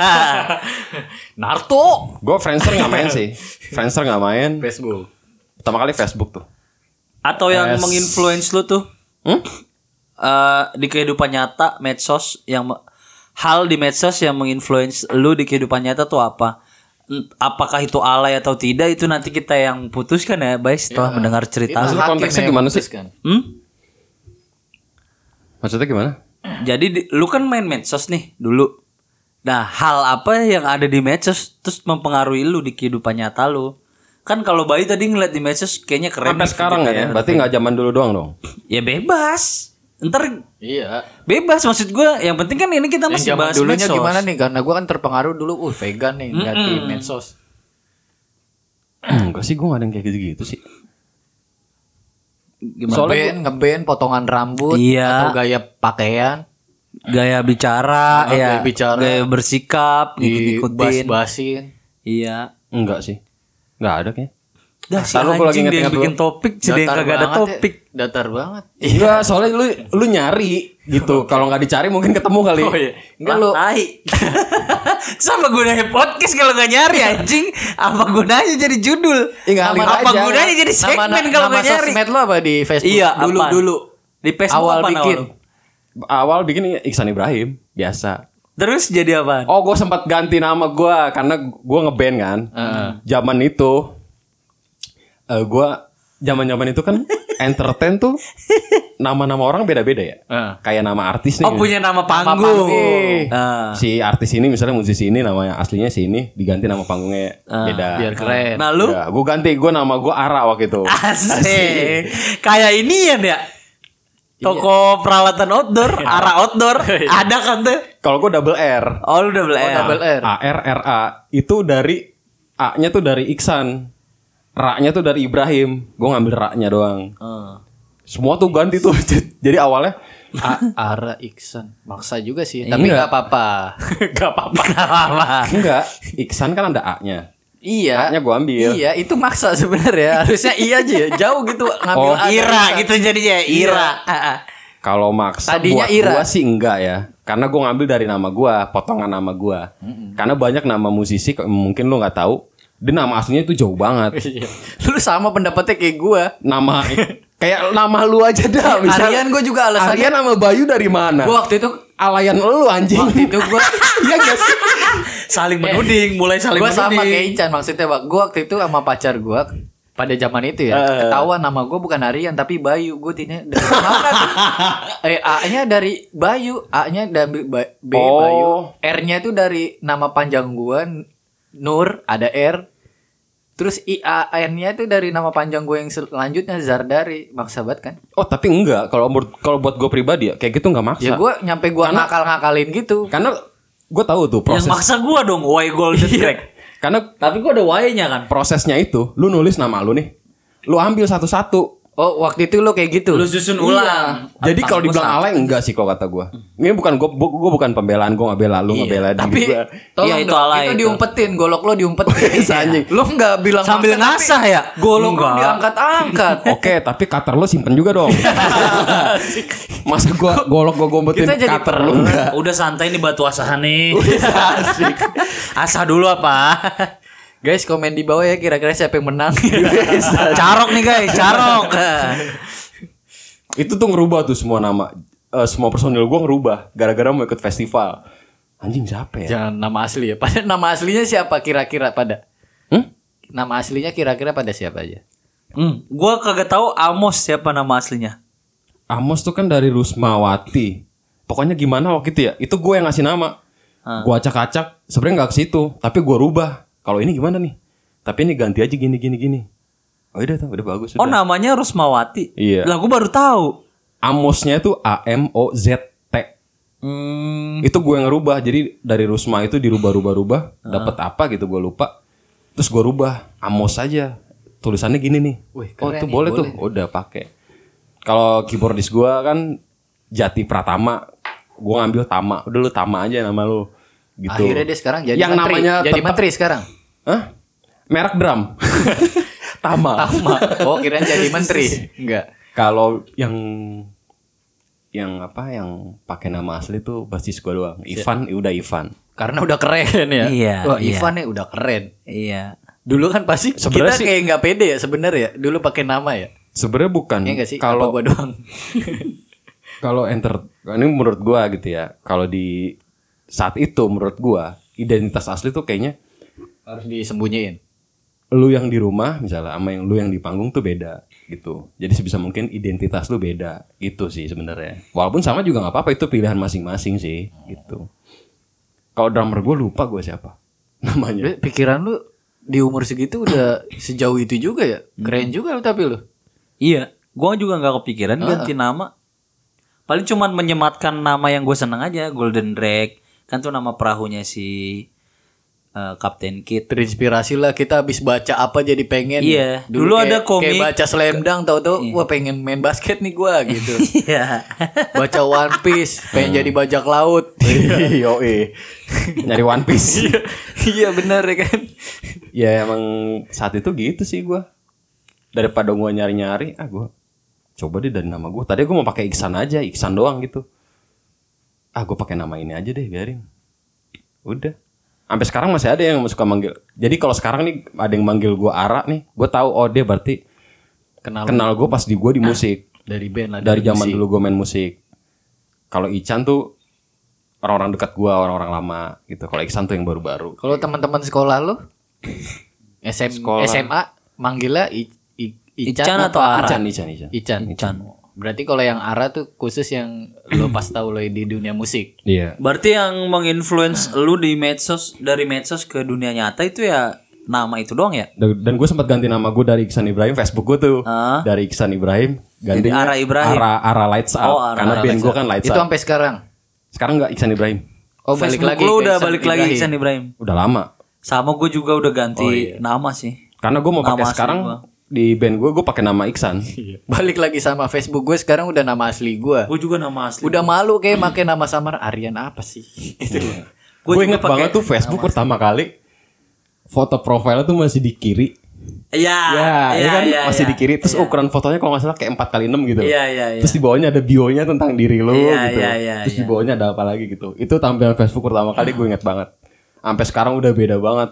[SPEAKER 3] Naruto.
[SPEAKER 2] Gue Friendster nggak main sih. Friendster nggak main.
[SPEAKER 3] Facebook.
[SPEAKER 2] Pertama kali Facebook tuh.
[SPEAKER 1] Atau yang
[SPEAKER 2] Es.
[SPEAKER 1] menginfluence lu tuh
[SPEAKER 2] Hmm?
[SPEAKER 1] eh, di kehidupan nyata medsos yang me- hal di medsos yang menginfluence lu di kehidupan nyata tuh apa? Ent- Apakah itu alay atau tidak itu nanti kita yang putuskan ya, baik setelah mendengar cerita.
[SPEAKER 2] Maksudnya konteksnya gimana Anu sih?
[SPEAKER 1] Hmm?
[SPEAKER 2] Maksudnya gimana?
[SPEAKER 1] Jadi di- lu kan main medsos nih dulu. Nah, hal apa yang ada di medsos terus mempengaruhi lu di kehidupan nyata lu? Kan kalau Bayu tadi ngeliat di medsos kayaknya keren.
[SPEAKER 2] Sampai
[SPEAKER 1] nih,
[SPEAKER 2] sekarang
[SPEAKER 1] video
[SPEAKER 2] ya.
[SPEAKER 1] keren.
[SPEAKER 2] Berarti nggak zaman dulu doang dong.
[SPEAKER 1] Ya bebas. Ntar
[SPEAKER 3] Iya.
[SPEAKER 1] bebas maksud gue. Yang penting kan ini kita
[SPEAKER 3] Yang
[SPEAKER 1] masih
[SPEAKER 3] zaman
[SPEAKER 1] bahas
[SPEAKER 3] dulunya
[SPEAKER 1] medsos.
[SPEAKER 3] gimana nih? Karena gue kan terpengaruh dulu uh vegan nih lihat di medsos.
[SPEAKER 2] Enggak sih, gue nggak ada yang kayak gitu-gitu sih.
[SPEAKER 3] Soalnya ngeband, ngeband, potongan rambut
[SPEAKER 1] Iya.
[SPEAKER 3] atau gaya pakaian,
[SPEAKER 1] Gaya bicara,
[SPEAKER 3] Ah,
[SPEAKER 1] ya,
[SPEAKER 3] gaya bicara.
[SPEAKER 1] gaya bersikap,
[SPEAKER 3] di
[SPEAKER 1] ngikut-ngikutin.
[SPEAKER 3] bas-basin.
[SPEAKER 1] Iya.
[SPEAKER 2] Enggak sih. Nggak ada kayaknya.
[SPEAKER 1] Dah si
[SPEAKER 2] Ntar lu gua lagi
[SPEAKER 1] anjing dia yang
[SPEAKER 2] inget-inget
[SPEAKER 1] bikin topik, si dia yang kagak ada
[SPEAKER 3] banget ya,
[SPEAKER 1] topik.
[SPEAKER 3] datar banget.
[SPEAKER 2] Enggak, Iya, soalnya lu lu nyari gitu. Kalau nggak dicari mungkin ketemu kali.
[SPEAKER 3] Oh,
[SPEAKER 1] Oh,
[SPEAKER 3] iya.
[SPEAKER 1] Enggak lu Sama gunanya podcast kalau nggak nyari anjing Apa gunanya jadi judul
[SPEAKER 2] Ya, nggak
[SPEAKER 1] Apa,
[SPEAKER 2] ngalir
[SPEAKER 1] apa
[SPEAKER 2] aja.
[SPEAKER 1] gunanya jadi segmen kalau nggak nyari
[SPEAKER 3] sosmed lo apa di Facebook?
[SPEAKER 1] Iya
[SPEAKER 3] dulu
[SPEAKER 1] apaan?
[SPEAKER 3] dulu.
[SPEAKER 1] Di Facebook
[SPEAKER 3] Awal
[SPEAKER 1] apaan
[SPEAKER 3] bikin.
[SPEAKER 1] awal?
[SPEAKER 2] Awal bikin Iksan Ibrahim, biasa.
[SPEAKER 1] Terus jadi apaan?
[SPEAKER 2] Oh, gue sempat ganti nama gue karena gue ngeband kan. Zaman itu, eh gue zaman-zaman itu kan entertain tuh nama-nama orang beda-beda ya.
[SPEAKER 3] Heeh.
[SPEAKER 2] Kayak nama
[SPEAKER 3] Iya.
[SPEAKER 2] artis nih.
[SPEAKER 1] Oh punya nama panggung
[SPEAKER 2] panggung.
[SPEAKER 1] Nah.
[SPEAKER 2] Si artis ini misalnya musisi ini namanya aslinya si ini diganti nama panggungnya beda.
[SPEAKER 3] Biar keren.
[SPEAKER 1] Nah lu
[SPEAKER 2] Ya, gue ganti gue nama gue Ara waktu itu.
[SPEAKER 1] Asik Kayak ini ya ya Toko peralatan outdoor Arah outdoor Ada kan tuh
[SPEAKER 2] Kalau gue double R.
[SPEAKER 1] Oh lu udah beli
[SPEAKER 3] Oh, double R.
[SPEAKER 2] A R R A itu dari A-nya tuh dari Iksan. Ra-nya tuh dari Ibrahim. Gue ngambil ra-nya doang.
[SPEAKER 1] Oh.
[SPEAKER 2] Semua tuh ganti tuh. Jadi awalnya
[SPEAKER 3] A- Ara Iksan. Maksa juga sih, tapi
[SPEAKER 2] Iya.
[SPEAKER 3] nggak apa-apa.
[SPEAKER 1] Gak apa-apa Gak apa-apa
[SPEAKER 2] enggak, Iksan kan ada A-nya.
[SPEAKER 3] iya.
[SPEAKER 2] A-nya gue ambil.
[SPEAKER 3] Iya, itu maksa sebenarnya. Harusnya iya aja, ya. jauh gitu ngambil
[SPEAKER 2] Oh,
[SPEAKER 3] Iya. A dan
[SPEAKER 1] Ira
[SPEAKER 3] Iksan.
[SPEAKER 1] gitu jadinya Ira Ah, ah.
[SPEAKER 2] Kalau maksa
[SPEAKER 3] Tadinya
[SPEAKER 2] buat
[SPEAKER 3] Ira.
[SPEAKER 2] gua sih enggak ya. Karena gue ngambil dari nama gue, potongan nama gue. Karena banyak nama musisi ke- mungkin lo nggak tahu. Dia nama aslinya itu jauh banget.
[SPEAKER 3] Iya. Lu sama pendapatnya kayak gua.
[SPEAKER 2] Nama kayak nama lu aja dah. Misalnya,
[SPEAKER 3] Harian gua juga alasannya.
[SPEAKER 2] Aryan sama Bayu dari mana?
[SPEAKER 3] Gua waktu itu
[SPEAKER 2] Alayan lu anjing.
[SPEAKER 3] waktu itu gua
[SPEAKER 2] Iya gak sih?
[SPEAKER 1] saling menuding mulai saling
[SPEAKER 3] gue sama kayak
[SPEAKER 1] menuding
[SPEAKER 3] Incan maksudnya pak gue waktu itu sama pacar gue pada zaman itu ya
[SPEAKER 1] Eh.
[SPEAKER 3] ketahuan nama gue bukan Harian tapi Bayu gue tanya dari mana tuh? eh A nya dari Bayu A nya dari Ba- B
[SPEAKER 2] Oh.
[SPEAKER 3] Bayu R nya itu dari nama panjang gue Nur ada R terus I A N nya itu dari nama panjang gue yang selanjutnya Zardari maksa banget kan
[SPEAKER 2] Oh tapi enggak kalau menurut- kalau buat gue pribadi ya kayak gitu nggak maksa.
[SPEAKER 3] ya gue nyampe gue
[SPEAKER 2] Karena-
[SPEAKER 3] nakal ngakalin gitu
[SPEAKER 2] Karena gue tahu tuh
[SPEAKER 1] yang
[SPEAKER 2] proses.
[SPEAKER 1] maksa gua dong why golden track
[SPEAKER 2] Karena
[SPEAKER 1] Iya. tapi gua ada why nya kan
[SPEAKER 2] prosesnya itu lu nulis nama lu nih, lu ambil satu-satu.
[SPEAKER 3] oh waktu itu lo kayak gitu
[SPEAKER 1] lu susun ulang
[SPEAKER 2] Jadi
[SPEAKER 1] Tangan
[SPEAKER 2] kalau
[SPEAKER 1] gua
[SPEAKER 2] dibilang
[SPEAKER 1] sama.
[SPEAKER 2] alay enggak sih kalau kata gue. Ini bukan gue gue bukan pembelaan gue nggak bela lu nggak bela diri
[SPEAKER 3] Hmm. Iya, tapi
[SPEAKER 2] gua. Iya.
[SPEAKER 3] tolong
[SPEAKER 1] Iya, itu
[SPEAKER 3] itu,
[SPEAKER 1] alay
[SPEAKER 3] itu
[SPEAKER 1] itu.
[SPEAKER 3] diumpetin golok lo diumpetin
[SPEAKER 2] Anjing.
[SPEAKER 3] lo nggak bilang
[SPEAKER 1] sambil
[SPEAKER 3] makan,
[SPEAKER 1] ngasah
[SPEAKER 3] tapi
[SPEAKER 1] ya
[SPEAKER 3] golok lo
[SPEAKER 1] Enggak.
[SPEAKER 3] diangkat angkat
[SPEAKER 2] Oke tapi cutter lu simpen juga dong. Masa gue golok gue gombetin
[SPEAKER 3] Kita jadi
[SPEAKER 2] cutter
[SPEAKER 3] per-
[SPEAKER 2] lu enggak.
[SPEAKER 1] udah santai nih batu asahan nih asah dulu apa
[SPEAKER 3] guys komen di bawah ya kira-kira siapa yang menang Iya.
[SPEAKER 1] carok nih guys carok
[SPEAKER 2] Itu tuh ngerubah tuh semua nama eh, semua personil gue ngerubah gara-gara mau ikut festival. Anjing siapa ya?
[SPEAKER 3] jangan nama asli ya pada nama aslinya siapa kira-kira pada
[SPEAKER 2] Hmm?
[SPEAKER 3] nama aslinya kira-kira pada siapa aja
[SPEAKER 1] hmm, gue kagak tahu Amos siapa nama aslinya
[SPEAKER 2] Amos tuh kan dari Rusmawati. Pokoknya gimana waktu itu ya? Itu gue yang ngasih nama. Gua acak-acak, sebenarnya nggak ke situ, tapi gua rubah. Kalau ini gimana nih? Tapi ini ganti aja gini gini gini. Oh udah tuh, udah bagus
[SPEAKER 1] Oh
[SPEAKER 2] sudah.
[SPEAKER 1] namanya Rosmawati.
[SPEAKER 2] Iya.
[SPEAKER 1] Lah gue baru tahu.
[SPEAKER 2] Amosnya itu A M O Z T.
[SPEAKER 1] Hmm.
[SPEAKER 2] Itu gue yang ngerubah. Jadi dari Rusma itu dirubah-rubah-rubah,
[SPEAKER 3] Ah.
[SPEAKER 2] dapat apa gitu gue lupa. Terus gue rubah Amos aja. Tulisannya gini nih.
[SPEAKER 3] Wih,
[SPEAKER 2] oh,
[SPEAKER 3] keren
[SPEAKER 2] tuh
[SPEAKER 3] nih,
[SPEAKER 2] boleh, tuh.
[SPEAKER 3] boleh.
[SPEAKER 2] Udah pakai. Kalau keyboardis gue kan Jati Pratama. Gue ngambil Tama. Udah lu Tama aja nama lu. Gitu.
[SPEAKER 3] Akhirnya dia sekarang jadi
[SPEAKER 2] yang
[SPEAKER 3] menteri.
[SPEAKER 2] namanya
[SPEAKER 3] jadi
[SPEAKER 2] tetap-
[SPEAKER 3] menteri sekarang.
[SPEAKER 2] Hah? Merek drum. Tama.
[SPEAKER 3] Tama. Oh, kirain jadi menteri. Enggak.
[SPEAKER 2] Kalau yang yang apa yang pakai nama asli tuh basis gue doang.
[SPEAKER 3] Iya.
[SPEAKER 2] Ivan, ya udah Ivan.
[SPEAKER 3] Karena udah keren ya.
[SPEAKER 1] Iya,
[SPEAKER 3] Wah,
[SPEAKER 1] iya.
[SPEAKER 3] Ivan nih udah keren.
[SPEAKER 1] Iya.
[SPEAKER 3] Dulu kan pasti
[SPEAKER 2] Sebenarnya
[SPEAKER 3] kita
[SPEAKER 2] sih-
[SPEAKER 3] kayak nggak pede ya sebenarnya. ya. Dulu pakai nama ya.
[SPEAKER 2] Sebenarnya bukan.
[SPEAKER 3] Iya nggak sih?
[SPEAKER 2] Kalau
[SPEAKER 3] Apa gua doang.
[SPEAKER 2] kalau enter ini menurut gua gitu ya. Kalau di saat itu menurut gua identitas asli tuh kayaknya
[SPEAKER 3] Harus disembunyiin.
[SPEAKER 2] lu yang di rumah misalnya sama yang lu yang di panggung tuh beda gitu. Jadi sebisa mungkin identitas lu beda gitu sih sebenarnya. Walaupun sama juga nggak apa-apa itu pilihan masing-masing sih gitu. Kalau drummer gua lupa gua siapa namanya.
[SPEAKER 3] Bre, Pikiran lu di umur segitu udah sejauh itu juga ya. Keren juga lu tapi lu.
[SPEAKER 1] Iya. Gue juga nggak kepikiran ganti nama. Paling cuman menyematkan nama yang gue seneng aja. Golden Drake. Kan tuh nama perahunya si eh, Kapten Kid.
[SPEAKER 3] Terinspirasi lah kita habis baca apa jadi pengen.
[SPEAKER 1] Iya. Dulu
[SPEAKER 3] kayak-
[SPEAKER 1] ada komik.
[SPEAKER 3] Kayak baca slam dunk tau-tau. Wah pengen main basket nih gua gitu.
[SPEAKER 1] Iya.
[SPEAKER 3] baca One Piece, pengen jadi bajak laut.
[SPEAKER 2] Yo Nyari One Piece.
[SPEAKER 3] iya benar ya kan.
[SPEAKER 2] ya emang saat itu gitu sih gua daripada gua nyari-nyari ah gua coba deh dari nama gua tadi gua mau pakai Iksan aja Iksan doang gitu ah gua pakai nama ini aja deh biarin udah sampai sekarang masih ada yang suka manggil jadi kalau sekarang nih ada yang manggil gua Ara nih gua tahu oh dia berarti
[SPEAKER 3] Kenal Ah,
[SPEAKER 2] kenal gua pas di gua di musik
[SPEAKER 3] dari band lah
[SPEAKER 2] dari zaman dulu gua main musik kalau Ican tuh orang-orang dekat gua orang-orang lama gitu kalau Iksan tuh yang baru-baru
[SPEAKER 3] Kalau teman-teman sekolah lu SM,
[SPEAKER 2] Sekolah.
[SPEAKER 3] SMA manggilnya I, I- Ican,
[SPEAKER 1] Ican atau
[SPEAKER 3] atau Ara?
[SPEAKER 2] Ican Ican Ican
[SPEAKER 3] Ican.
[SPEAKER 1] Ican.
[SPEAKER 3] Berarti kalau yang Ara tuh khusus yang lo pas tahu lo di dunia musik.
[SPEAKER 2] iya
[SPEAKER 1] Berarti yang menginfluence lu di medsos dari medsos ke dunia nyata itu ya nama itu doang ya?
[SPEAKER 2] Dan, dan gue sempat ganti nama gue dari Iksan Ibrahim Facebook gue tuh
[SPEAKER 1] Ah.
[SPEAKER 2] dari Iksan Ibrahim ganti
[SPEAKER 1] Ara Ibrahim.
[SPEAKER 2] Ara Ara Lights Up
[SPEAKER 1] Oh, Ara-
[SPEAKER 2] karena
[SPEAKER 1] Ara
[SPEAKER 2] band
[SPEAKER 1] Lights
[SPEAKER 2] gue kan Lights
[SPEAKER 3] Itu
[SPEAKER 2] Up.
[SPEAKER 3] sampai sekarang.
[SPEAKER 2] Sekarang nggak Iksan Ibrahim.
[SPEAKER 3] Oh,
[SPEAKER 1] Eh, Facebook
[SPEAKER 3] balik lagi.
[SPEAKER 1] lu
[SPEAKER 3] ke
[SPEAKER 1] udah
[SPEAKER 3] Iksan
[SPEAKER 1] balik lagi
[SPEAKER 3] Ibrahim.
[SPEAKER 1] Iksan Ibrahim.
[SPEAKER 2] Udah lama.
[SPEAKER 1] Sama gue juga udah ganti
[SPEAKER 2] Oh, iya.
[SPEAKER 1] nama sih.
[SPEAKER 2] Karena gue mau
[SPEAKER 1] Nama
[SPEAKER 2] pakai
[SPEAKER 1] asli
[SPEAKER 2] sekarang
[SPEAKER 1] gua.
[SPEAKER 2] di band gue gue pakai nama Iksan.
[SPEAKER 1] Iya.
[SPEAKER 3] Balik lagi sama Facebook gue sekarang udah nama asli gue.
[SPEAKER 1] Gue juga nama asli.
[SPEAKER 3] Udah malu kayak make nama samar Aryan apa sih?
[SPEAKER 1] Iya.
[SPEAKER 3] Gitu. Itu.
[SPEAKER 1] Gua juga
[SPEAKER 2] Gue inget
[SPEAKER 1] pakai
[SPEAKER 2] banget tuh Facebook pertama kali foto profilnya tuh masih di kiri.
[SPEAKER 1] Iya.
[SPEAKER 2] ya,
[SPEAKER 1] iya,
[SPEAKER 2] ini kan
[SPEAKER 1] iya,
[SPEAKER 2] masih
[SPEAKER 1] iya.
[SPEAKER 2] di kiri. Terus ukuran fotonya kalau nggak salah kayak 4 kali 6 gitu.
[SPEAKER 1] Iya, iya, iya.
[SPEAKER 2] Terus di bawahnya ada bio-nya tentang diri lu
[SPEAKER 1] Iya,
[SPEAKER 2] gitu.
[SPEAKER 1] iya, iya,
[SPEAKER 2] Terus di
[SPEAKER 1] iya.
[SPEAKER 2] bawahnya ada apa lagi gitu. Itu tampilan Facebook pertama kali gue inget banget. Sampai sekarang udah beda banget.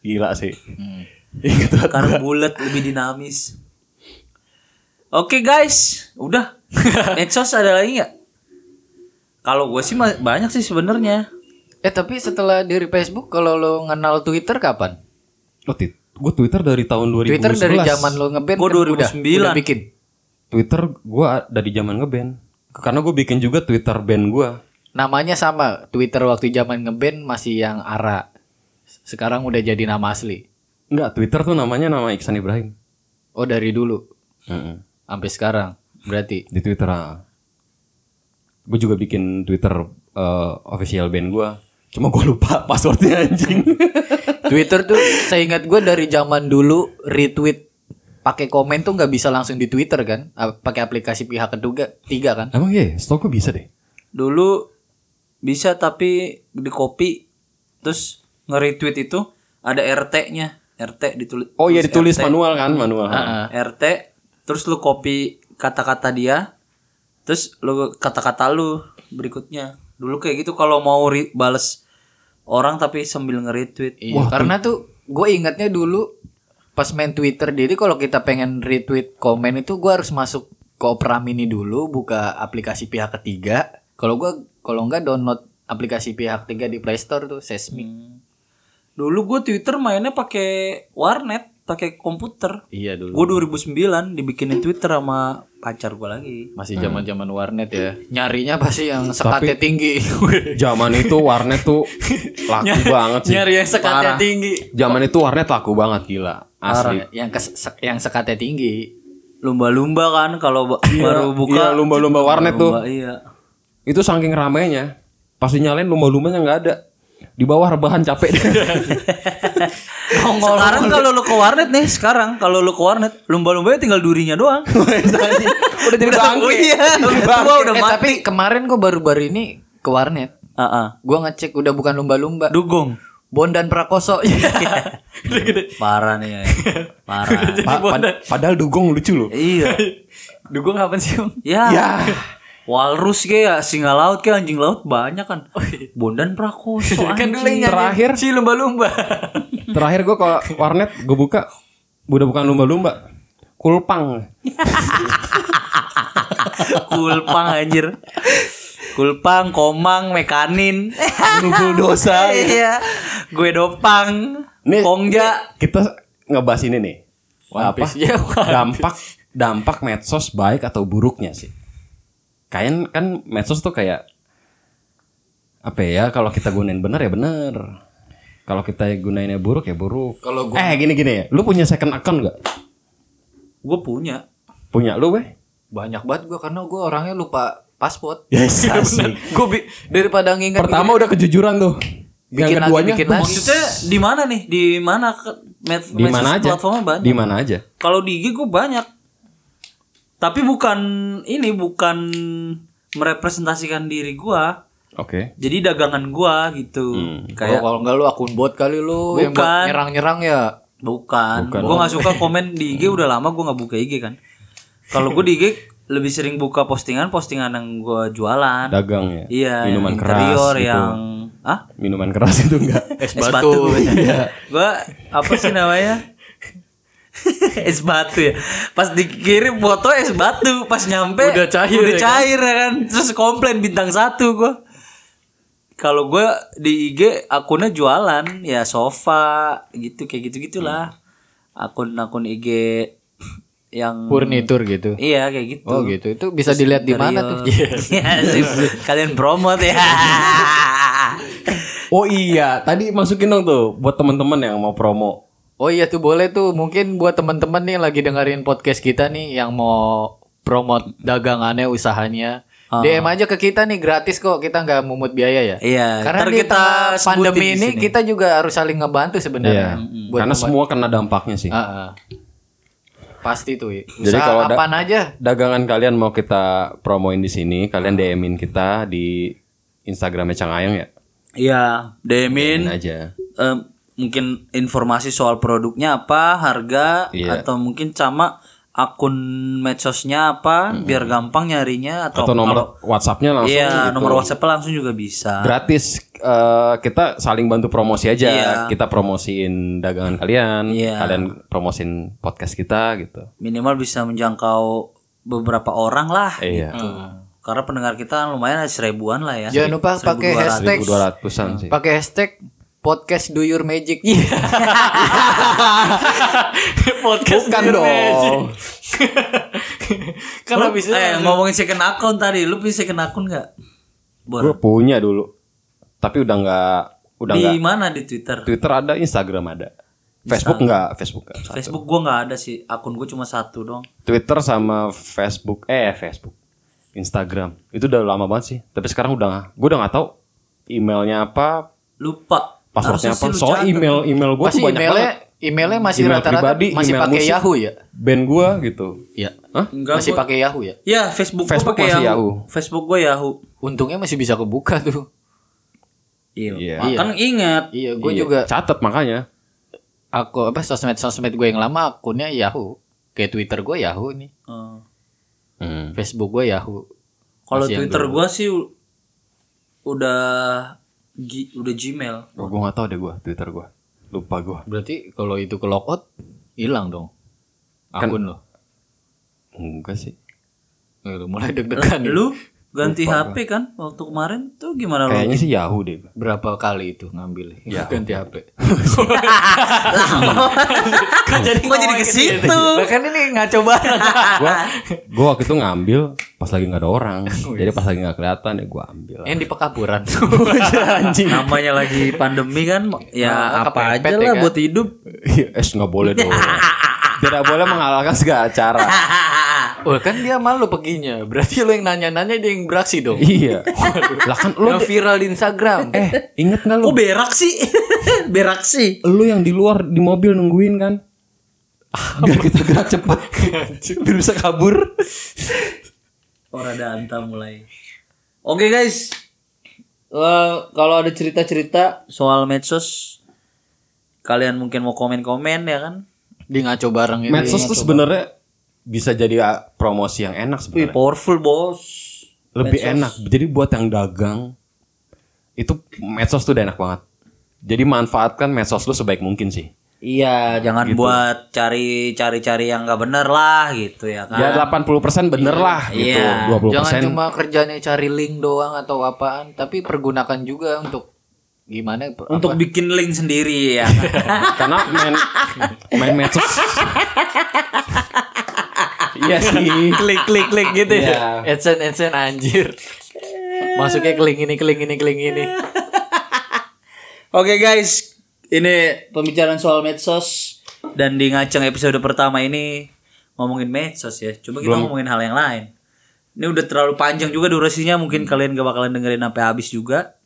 [SPEAKER 2] Gila sih.
[SPEAKER 1] Hmm.
[SPEAKER 2] Iya, gitu. Ingat banget.
[SPEAKER 1] Karena bulat lebih dinamis. Oke guys, udah. Medsos ada lagi nggak? Kalau gue sih ma- banyak sih sebenarnya.
[SPEAKER 3] Eh tapi setelah dari Facebook kalau lo kenal Twitter kapan?
[SPEAKER 2] Oh, tit- gue Twitter dari tahun 2011.
[SPEAKER 3] Twitter dari zaman lo ngeband
[SPEAKER 1] Gua
[SPEAKER 3] kan
[SPEAKER 1] 2009.
[SPEAKER 3] udah, udah bikin.
[SPEAKER 2] Twitter gue dari zaman ngeband. Karena gue bikin juga Twitter band gue.
[SPEAKER 3] Namanya sama Twitter waktu zaman ngeband masih yang Ara. Sekarang udah jadi nama asli.
[SPEAKER 2] Enggak, Twitter tuh namanya nama Iksan Ibrahim.
[SPEAKER 3] Oh dari dulu
[SPEAKER 2] Mm-mm.
[SPEAKER 3] sampai sekarang berarti.
[SPEAKER 2] di Twitter. ah. Gue juga bikin Twitter eh, official band gue. Cuma gue lupa passwordnya anjing.
[SPEAKER 3] Twitter tuh saya ingat gue dari zaman dulu retweet pakai komen tuh nggak bisa langsung di Twitter kan? Ah, Pakai aplikasi pihak ketiga tiga kan?
[SPEAKER 2] Emang iya, stok gue bisa deh.
[SPEAKER 1] Dulu bisa tapi di copy terus nge-retweet itu ada RT-nya. RT ditulis.
[SPEAKER 2] Oh iya
[SPEAKER 1] tulis
[SPEAKER 2] ditulis
[SPEAKER 1] RT.
[SPEAKER 2] manual kan, manual.
[SPEAKER 1] RT terus lu copy kata-kata dia terus lu kata-kata lu berikutnya dulu kayak gitu kalau mau re- bales orang tapi sambil nge-retweet
[SPEAKER 3] Iya, karena tuh gue ingatnya dulu pas main Twitter jadi kalau kita pengen retweet komen itu gue harus masuk ke Opera Mini dulu buka aplikasi pihak ketiga. Kalau gue kalau enggak download aplikasi pihak Hmm. ketiga di Play Store tuh Sesmi.
[SPEAKER 1] dulu gue Twitter mainnya pakai warnet pakai komputer.
[SPEAKER 3] Iya dulu.
[SPEAKER 1] Gue 2009 dibikinin Twitter sama pacar gue lagi.
[SPEAKER 3] Masih zaman-zaman warnet ya. Nyarinya pasti yang sekatnya tinggi.
[SPEAKER 2] Zaman itu warnet tuh laku banget sih.
[SPEAKER 1] Nyari yang sekatnya
[SPEAKER 2] Parah.
[SPEAKER 1] tinggi.
[SPEAKER 2] Zaman itu warnet laku banget gila. Asli.
[SPEAKER 3] yang kes- se- yang sekatnya tinggi.
[SPEAKER 1] Lumba-lumba kan kalau ba- baru buka.
[SPEAKER 2] iya, lumba-lumba warnet tuh.
[SPEAKER 1] Lumba, Iya.
[SPEAKER 2] Itu saking ramainya. Pas nyalain lumba-lumbanya nggak ada. Di bawah rebahan capek.
[SPEAKER 1] sekarang kalau lu ke warnet nih, sekarang kalau lu ke warnet, lumba-lumbanya tinggal durinya doang. udah jadi
[SPEAKER 2] bangke.
[SPEAKER 1] Iya, udah tua udah
[SPEAKER 3] eh,
[SPEAKER 1] mati.
[SPEAKER 3] oh tapi kemarin kok baru-baru ini ke warnet.
[SPEAKER 1] Ah, ah.
[SPEAKER 3] Gua ngecek udah bukan lumba-lumba.
[SPEAKER 1] Dugong.
[SPEAKER 3] Bondan Prakoso.
[SPEAKER 1] Parah nih. ya. Parah.
[SPEAKER 2] Pa- pad- padahal dugong lucu loh.
[SPEAKER 1] iya.
[SPEAKER 3] Dukung apa sih, Om?
[SPEAKER 1] Ya. Walrus kayak singa laut kayak anjing laut banyak kan.
[SPEAKER 2] Oh, iya.
[SPEAKER 1] Bondan Prakoso
[SPEAKER 3] Kan
[SPEAKER 1] anjing.
[SPEAKER 3] dulu yang
[SPEAKER 2] Terakhir.
[SPEAKER 3] nyanyi si lumba-lumba.
[SPEAKER 2] Terakhir gue ke warnet gue buka udah bukan lumba-lumba. Kulpang.
[SPEAKER 1] Kulpang anjir. Kulpang, komang, mekanin.
[SPEAKER 2] Nubul dosa. ya.
[SPEAKER 1] Iya. Gue dopang.
[SPEAKER 2] Nih,
[SPEAKER 1] Kongja.
[SPEAKER 2] Kita ngebahas ini nih.
[SPEAKER 3] One
[SPEAKER 2] Apa?
[SPEAKER 3] Piece. Ya, One
[SPEAKER 2] dampak dampak medsos baik atau buruknya sih kayak kan medsos tuh kayak apa ya kalau kita gunain bener ya bener kalau kita gunainnya buruk ya buruk
[SPEAKER 3] Kalau
[SPEAKER 2] eh gini gini ya lu punya second account gak
[SPEAKER 1] Gue punya.
[SPEAKER 2] punya lu weh
[SPEAKER 3] Banyak banget gua karena gua orangnya lupa paspor.
[SPEAKER 2] yes asli.
[SPEAKER 3] Gua bi- daripada ngingat
[SPEAKER 2] pertama udah kejujuran tuh yang
[SPEAKER 3] Bikin lagi,
[SPEAKER 2] keduanya
[SPEAKER 3] bikin lagi.
[SPEAKER 1] Maksudnya di mana nih? Di mana ke- med
[SPEAKER 2] di mana
[SPEAKER 1] medsos
[SPEAKER 2] aja
[SPEAKER 1] Platformnya banyak.
[SPEAKER 2] di mana aja
[SPEAKER 1] Kalau di IG gue banyak. Tapi bukan ini bukan merepresentasikan diri gue.
[SPEAKER 2] oke
[SPEAKER 1] jadi dagangan gua gitu
[SPEAKER 2] Hmm.
[SPEAKER 1] kayak
[SPEAKER 3] kayak
[SPEAKER 2] Oh,
[SPEAKER 3] kalau enggak lu akun bot kali lu yang
[SPEAKER 1] Bukan.
[SPEAKER 3] buat nyerang-nyerang ya.
[SPEAKER 1] bukan, gua nggak suka komen di IG udah lama gua nggak buka IG kan kalau gua di IG lebih sering buka postingan postingan yang gua jualan
[SPEAKER 2] dagang ya
[SPEAKER 1] iya
[SPEAKER 2] minuman
[SPEAKER 1] yang
[SPEAKER 2] keras
[SPEAKER 1] interior
[SPEAKER 2] gitu.
[SPEAKER 1] yang ah
[SPEAKER 2] minuman keras itu enggak
[SPEAKER 1] es batu,
[SPEAKER 3] Iya.
[SPEAKER 1] gua apa sih namanya es batu ya pas dikirim foto es batu pas nyampe
[SPEAKER 3] Udah cair
[SPEAKER 1] udah
[SPEAKER 3] ya kan?
[SPEAKER 1] cair ya kan terus komplain bintang satu gua kalau gua di IG akunnya jualan ya sofa gitu kayak gitu gitulah akun-akun IG yang
[SPEAKER 3] Furnitur gitu.
[SPEAKER 1] iya kayak gitu
[SPEAKER 3] Oh gitu. Itu eh, bisa dilihat di mana tuh?
[SPEAKER 1] Iya, sih. kalian promote ya
[SPEAKER 2] oh iya tadi masukin dong tuh buat teman-teman yang mau promo
[SPEAKER 3] Oh iya tuh boleh tuh. Mungkin buat teman-teman nih yang lagi dengerin podcast kita nih yang mau promote dagangannya, usahanya.
[SPEAKER 1] Ah.
[SPEAKER 3] DM aja ke kita nih gratis kok. Kita nggak memungut biaya ya.
[SPEAKER 1] Iya, ntar
[SPEAKER 3] Karena di
[SPEAKER 1] kita
[SPEAKER 3] tengah
[SPEAKER 1] sebutin
[SPEAKER 3] pandemi
[SPEAKER 1] di
[SPEAKER 3] ini
[SPEAKER 1] sini.
[SPEAKER 3] kita juga harus saling ngebantu
[SPEAKER 2] Iya.
[SPEAKER 3] sebenarnya. Buat
[SPEAKER 2] Karena
[SPEAKER 3] memba-
[SPEAKER 2] semua kena dampaknya sih.
[SPEAKER 3] Ah, ah. Pasti tuh. Usaha
[SPEAKER 2] Jadi kalau ada-
[SPEAKER 3] apaan aja.
[SPEAKER 2] Dagangan kalian mau kita promoin di sini, kalian DMin kita di Instagramnya Cang Ayang ya.
[SPEAKER 1] iya
[SPEAKER 2] DMin
[SPEAKER 1] Demin
[SPEAKER 2] aja.
[SPEAKER 1] eh, mungkin informasi soal produknya apa, harga
[SPEAKER 2] Iya.
[SPEAKER 1] atau mungkin sama akun medsosnya apa biar gampang nyarinya atau,
[SPEAKER 2] Atau
[SPEAKER 1] kalau-
[SPEAKER 2] nomor WhatsApp-nya langsung
[SPEAKER 1] Iya,
[SPEAKER 2] gitu.
[SPEAKER 1] nomor WhatsApp langsung juga bisa.
[SPEAKER 2] Gratis eh, kita saling bantu promosi aja.
[SPEAKER 1] Iya.
[SPEAKER 2] Kita promosiin dagangan kalian,
[SPEAKER 1] Iya.
[SPEAKER 2] kalian promosiin podcast kita gitu.
[SPEAKER 1] Minimal bisa menjangkau beberapa orang lah. gitu.
[SPEAKER 2] Iya.
[SPEAKER 1] Karena pendengar kita lumayan ada seribuan lah ya.
[SPEAKER 3] Jangan lupa pakai hashtag
[SPEAKER 2] 1200-an sih.
[SPEAKER 3] pakai hashtag podcast do your magic.
[SPEAKER 1] Iya. Podcast
[SPEAKER 2] Bukan dong.
[SPEAKER 1] Kalau bisa eh, ngomongin second account tadi, lu punya second account nggak? Bor.
[SPEAKER 2] Gue punya dulu. Tapi udah nggak udah
[SPEAKER 1] Di
[SPEAKER 2] nggak.
[SPEAKER 1] mana di Twitter?
[SPEAKER 2] Twitter ada, Instagram ada. Facebook nggak, Facebook nggak.
[SPEAKER 1] Facebook gua nggak ada sih. Akun gua cuma satu dong.
[SPEAKER 2] Twitter sama Facebook eh Facebook Instagram itu udah lama banget sih tapi sekarang udah gue udah nggak tahu emailnya apa
[SPEAKER 1] Lupa.
[SPEAKER 2] passwordnya
[SPEAKER 1] Harusnya
[SPEAKER 2] apa
[SPEAKER 1] sih lu
[SPEAKER 2] soal
[SPEAKER 1] catat.
[SPEAKER 2] email email gue
[SPEAKER 3] Pasti
[SPEAKER 2] tuh banyak
[SPEAKER 3] emailnya
[SPEAKER 2] banget
[SPEAKER 3] emailnya masih
[SPEAKER 2] Email
[SPEAKER 3] rata-rata
[SPEAKER 2] pribadi,
[SPEAKER 3] masih
[SPEAKER 2] email
[SPEAKER 3] pakai
[SPEAKER 2] musik.
[SPEAKER 3] Yahoo ya.
[SPEAKER 2] band gue gitu
[SPEAKER 3] Iya.
[SPEAKER 2] Hah?
[SPEAKER 1] Enggak,
[SPEAKER 3] masih
[SPEAKER 1] gua-
[SPEAKER 3] pakai Yahoo ya.
[SPEAKER 1] Ya, Facebook, gua
[SPEAKER 2] Facebook
[SPEAKER 1] pakai
[SPEAKER 2] masih
[SPEAKER 1] Yahoo.
[SPEAKER 2] Yahoo.
[SPEAKER 1] Facebook gue Yahoo.
[SPEAKER 3] Untungnya masih bisa kebuka tuh.
[SPEAKER 1] Iya.
[SPEAKER 2] Iya.
[SPEAKER 1] Kan ingat.
[SPEAKER 3] Iya, gue
[SPEAKER 2] Iya,
[SPEAKER 3] juga
[SPEAKER 2] catat makanya
[SPEAKER 3] aku apa sosmed sosmed gue yang lama akunnya Yahoo. Kayak Twitter gue Yahoo nih,
[SPEAKER 1] Eh,
[SPEAKER 2] Hmm.
[SPEAKER 3] Facebook gue Yahoo.
[SPEAKER 1] Kalau
[SPEAKER 3] Masih yang
[SPEAKER 1] Twitter
[SPEAKER 3] dulu.
[SPEAKER 1] gue sih u- udah gi- udah Gmail.
[SPEAKER 2] Oh, gue nggak tahu deh gue Twitter gue lupa gue
[SPEAKER 3] Berarti kalau itu ke logout hilang dong
[SPEAKER 2] Kan-
[SPEAKER 3] akun lo.
[SPEAKER 2] enggak sih
[SPEAKER 3] Eh, lu Mulai deg-degan. nih.
[SPEAKER 1] Lu ganti HP kan waktu kemarin tuh
[SPEAKER 3] Oh.
[SPEAKER 1] gimana lo?
[SPEAKER 2] Kayaknya sih Yahoo deh.
[SPEAKER 3] Berapa kali itu ngambil ganti HP?
[SPEAKER 1] Kok jadi kok jadi ke situ?
[SPEAKER 3] Bahkan Kan ini ngaco banget.
[SPEAKER 2] Gua
[SPEAKER 3] ah.
[SPEAKER 2] gua waktu itu ngambil pas lagi nggak ada orang.
[SPEAKER 3] Oh, iya.
[SPEAKER 2] Jadi pas lagi nggak kelihatan ya gua ambil.
[SPEAKER 3] Yang di pekaburan.
[SPEAKER 1] Namanya lagi pandemi kan ya
[SPEAKER 2] Ah,
[SPEAKER 3] Nah,
[SPEAKER 1] apa
[SPEAKER 3] kepepet
[SPEAKER 1] aja
[SPEAKER 3] ya
[SPEAKER 1] lah
[SPEAKER 3] kan?
[SPEAKER 1] buat hidup.
[SPEAKER 3] Eh.
[SPEAKER 2] Iya, es nggak boleh dong. Tidak boleh menghalalkan segala cara.
[SPEAKER 3] Ah, Wah kan dia malu perginya. Berarti lo yang nanya-nanya dia yang beraksi dong.
[SPEAKER 2] iya. Lah kan lu
[SPEAKER 3] Yang viral di Instagram.
[SPEAKER 2] eh inget nggak lu?
[SPEAKER 1] Kok berak sih? berak sih.
[SPEAKER 2] Lu yang di luar di mobil nungguin kan? Biar kita gerak cepat. Biar bisa kabur.
[SPEAKER 1] Ora danta Oh, mulai. Oke guys. Eh, kalau ada cerita-cerita soal medsos kalian mungkin mau komen-komen ya kan?
[SPEAKER 3] Di ngaco bareng gitu. ini.
[SPEAKER 2] Medsos tuh sebenarnya bisa jadi ah, promosi yang enak
[SPEAKER 1] Wih,
[SPEAKER 2] sebenarnya.
[SPEAKER 1] powerful bos.
[SPEAKER 2] Lebih enak. Jadi buat yang dagang itu medsos tuh udah enak banget. Jadi manfaatkan medsos lu sebaik mungkin sih.
[SPEAKER 1] Iya, jangan buat cari-cari-cari yang nggak bener lah gitu ya kan.
[SPEAKER 2] Ya 80% bener lah gitu.
[SPEAKER 1] Iya.
[SPEAKER 2] 20%
[SPEAKER 3] Jangan cuma kerjanya cari link doang atau apaan, tapi pergunakan juga untuk gimana per-
[SPEAKER 1] Untuk bikin link sendiri ya.
[SPEAKER 2] karena main main medsos. Iya sih.
[SPEAKER 3] klik klik klik gitu
[SPEAKER 2] Iya.
[SPEAKER 3] ya. AdSense AdSense anjir. Masuknya ke link ini, ke link ini, ke link ini.
[SPEAKER 1] Oke guys, ini pembicaraan soal medsos dan di ngaceng episode pertama ini ngomongin medsos ya. Coba kita ngomongin hal yang lain. Ini udah terlalu panjang juga durasinya, mungkin kalian gak bakalan dengerin sampai habis juga.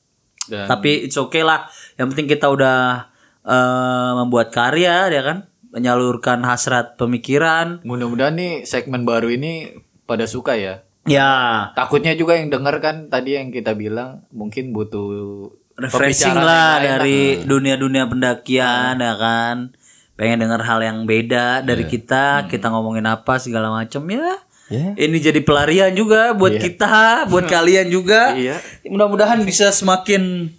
[SPEAKER 3] Dan-
[SPEAKER 1] Tapi it's okay lah. Yang penting kita udah eh, membuat karya ya kan, menyalurkan hasrat pemikiran.
[SPEAKER 3] Mudah-mudahan nih segmen baru ini pada suka ya.
[SPEAKER 1] Ya,
[SPEAKER 3] Takutnya juga yang denger kan tadi yang kita bilang mungkin butuh
[SPEAKER 1] refreshing
[SPEAKER 3] pembicaraan
[SPEAKER 1] lah
[SPEAKER 3] yang lain Hmm.
[SPEAKER 1] dari dunia-dunia pendakian ya kan pengen dengar hal yang beda dari
[SPEAKER 3] Iya.
[SPEAKER 1] kita
[SPEAKER 3] Hmm.
[SPEAKER 1] kita ngomongin apa segala macam ya
[SPEAKER 2] Ya.
[SPEAKER 1] ini jadi pelarian juga buat kita buat kalian juga
[SPEAKER 3] Iya.
[SPEAKER 1] mudah-mudahan bisa semakin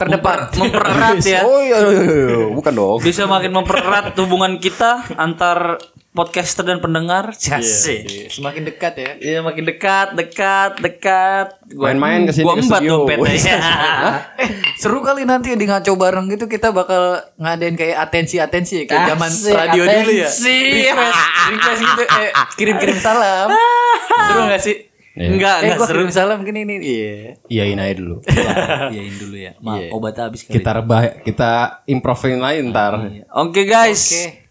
[SPEAKER 3] Terdepan.
[SPEAKER 1] memper- mempererat ya
[SPEAKER 2] Oh iya, iya, iya, iya. bukan dong.
[SPEAKER 1] bisa makin mempererat hubungan kita antar podcaster dan pendengar Asik.
[SPEAKER 3] Iya, Semakin dekat ya.
[SPEAKER 1] Iya makin dekat, dekat, dekat. Gua-
[SPEAKER 2] Main-main kesini
[SPEAKER 1] Gua
[SPEAKER 2] ke
[SPEAKER 1] embat
[SPEAKER 2] studio.
[SPEAKER 1] dompetnya.
[SPEAKER 3] Eh, seru kali nanti di ngaco bareng gitu kita bakal ngadain kayak atensi-atensi ya, kayak zaman
[SPEAKER 1] Asik,
[SPEAKER 3] radio dulu ya.
[SPEAKER 1] atensi.
[SPEAKER 3] Request, request gitu eh kirim-kirim salam. seru gak sih?
[SPEAKER 1] Enggak,
[SPEAKER 3] eh,
[SPEAKER 1] enggak Ah,
[SPEAKER 3] gua
[SPEAKER 1] nah, seru.
[SPEAKER 3] kirim salam gini nih. Iya.
[SPEAKER 2] Iyain aja dulu.
[SPEAKER 1] Gitu Iyain dulu ya. Maaf, obatnya habis kali.
[SPEAKER 2] Kita rebah, kita improvein lain ntar.
[SPEAKER 1] Hmm. Oke guys.
[SPEAKER 3] Oke.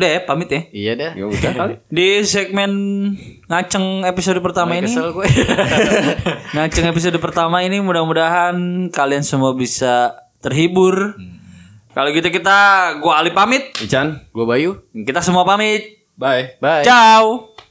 [SPEAKER 1] Udah ya pamit ya.
[SPEAKER 3] Iya dah.
[SPEAKER 2] Ya udah kali.
[SPEAKER 1] Di segmen ngaceng episode pertama ini.
[SPEAKER 3] Kesel gue.
[SPEAKER 1] Ngaceng episode pertama ini mudah-mudahan kalian semua bisa terhibur. Kalau gitu kita gua Ali pamit.
[SPEAKER 2] Ican,
[SPEAKER 3] gue Bayu.
[SPEAKER 1] Kita semua pamit.
[SPEAKER 2] bye.
[SPEAKER 3] Bye.
[SPEAKER 1] Ciao.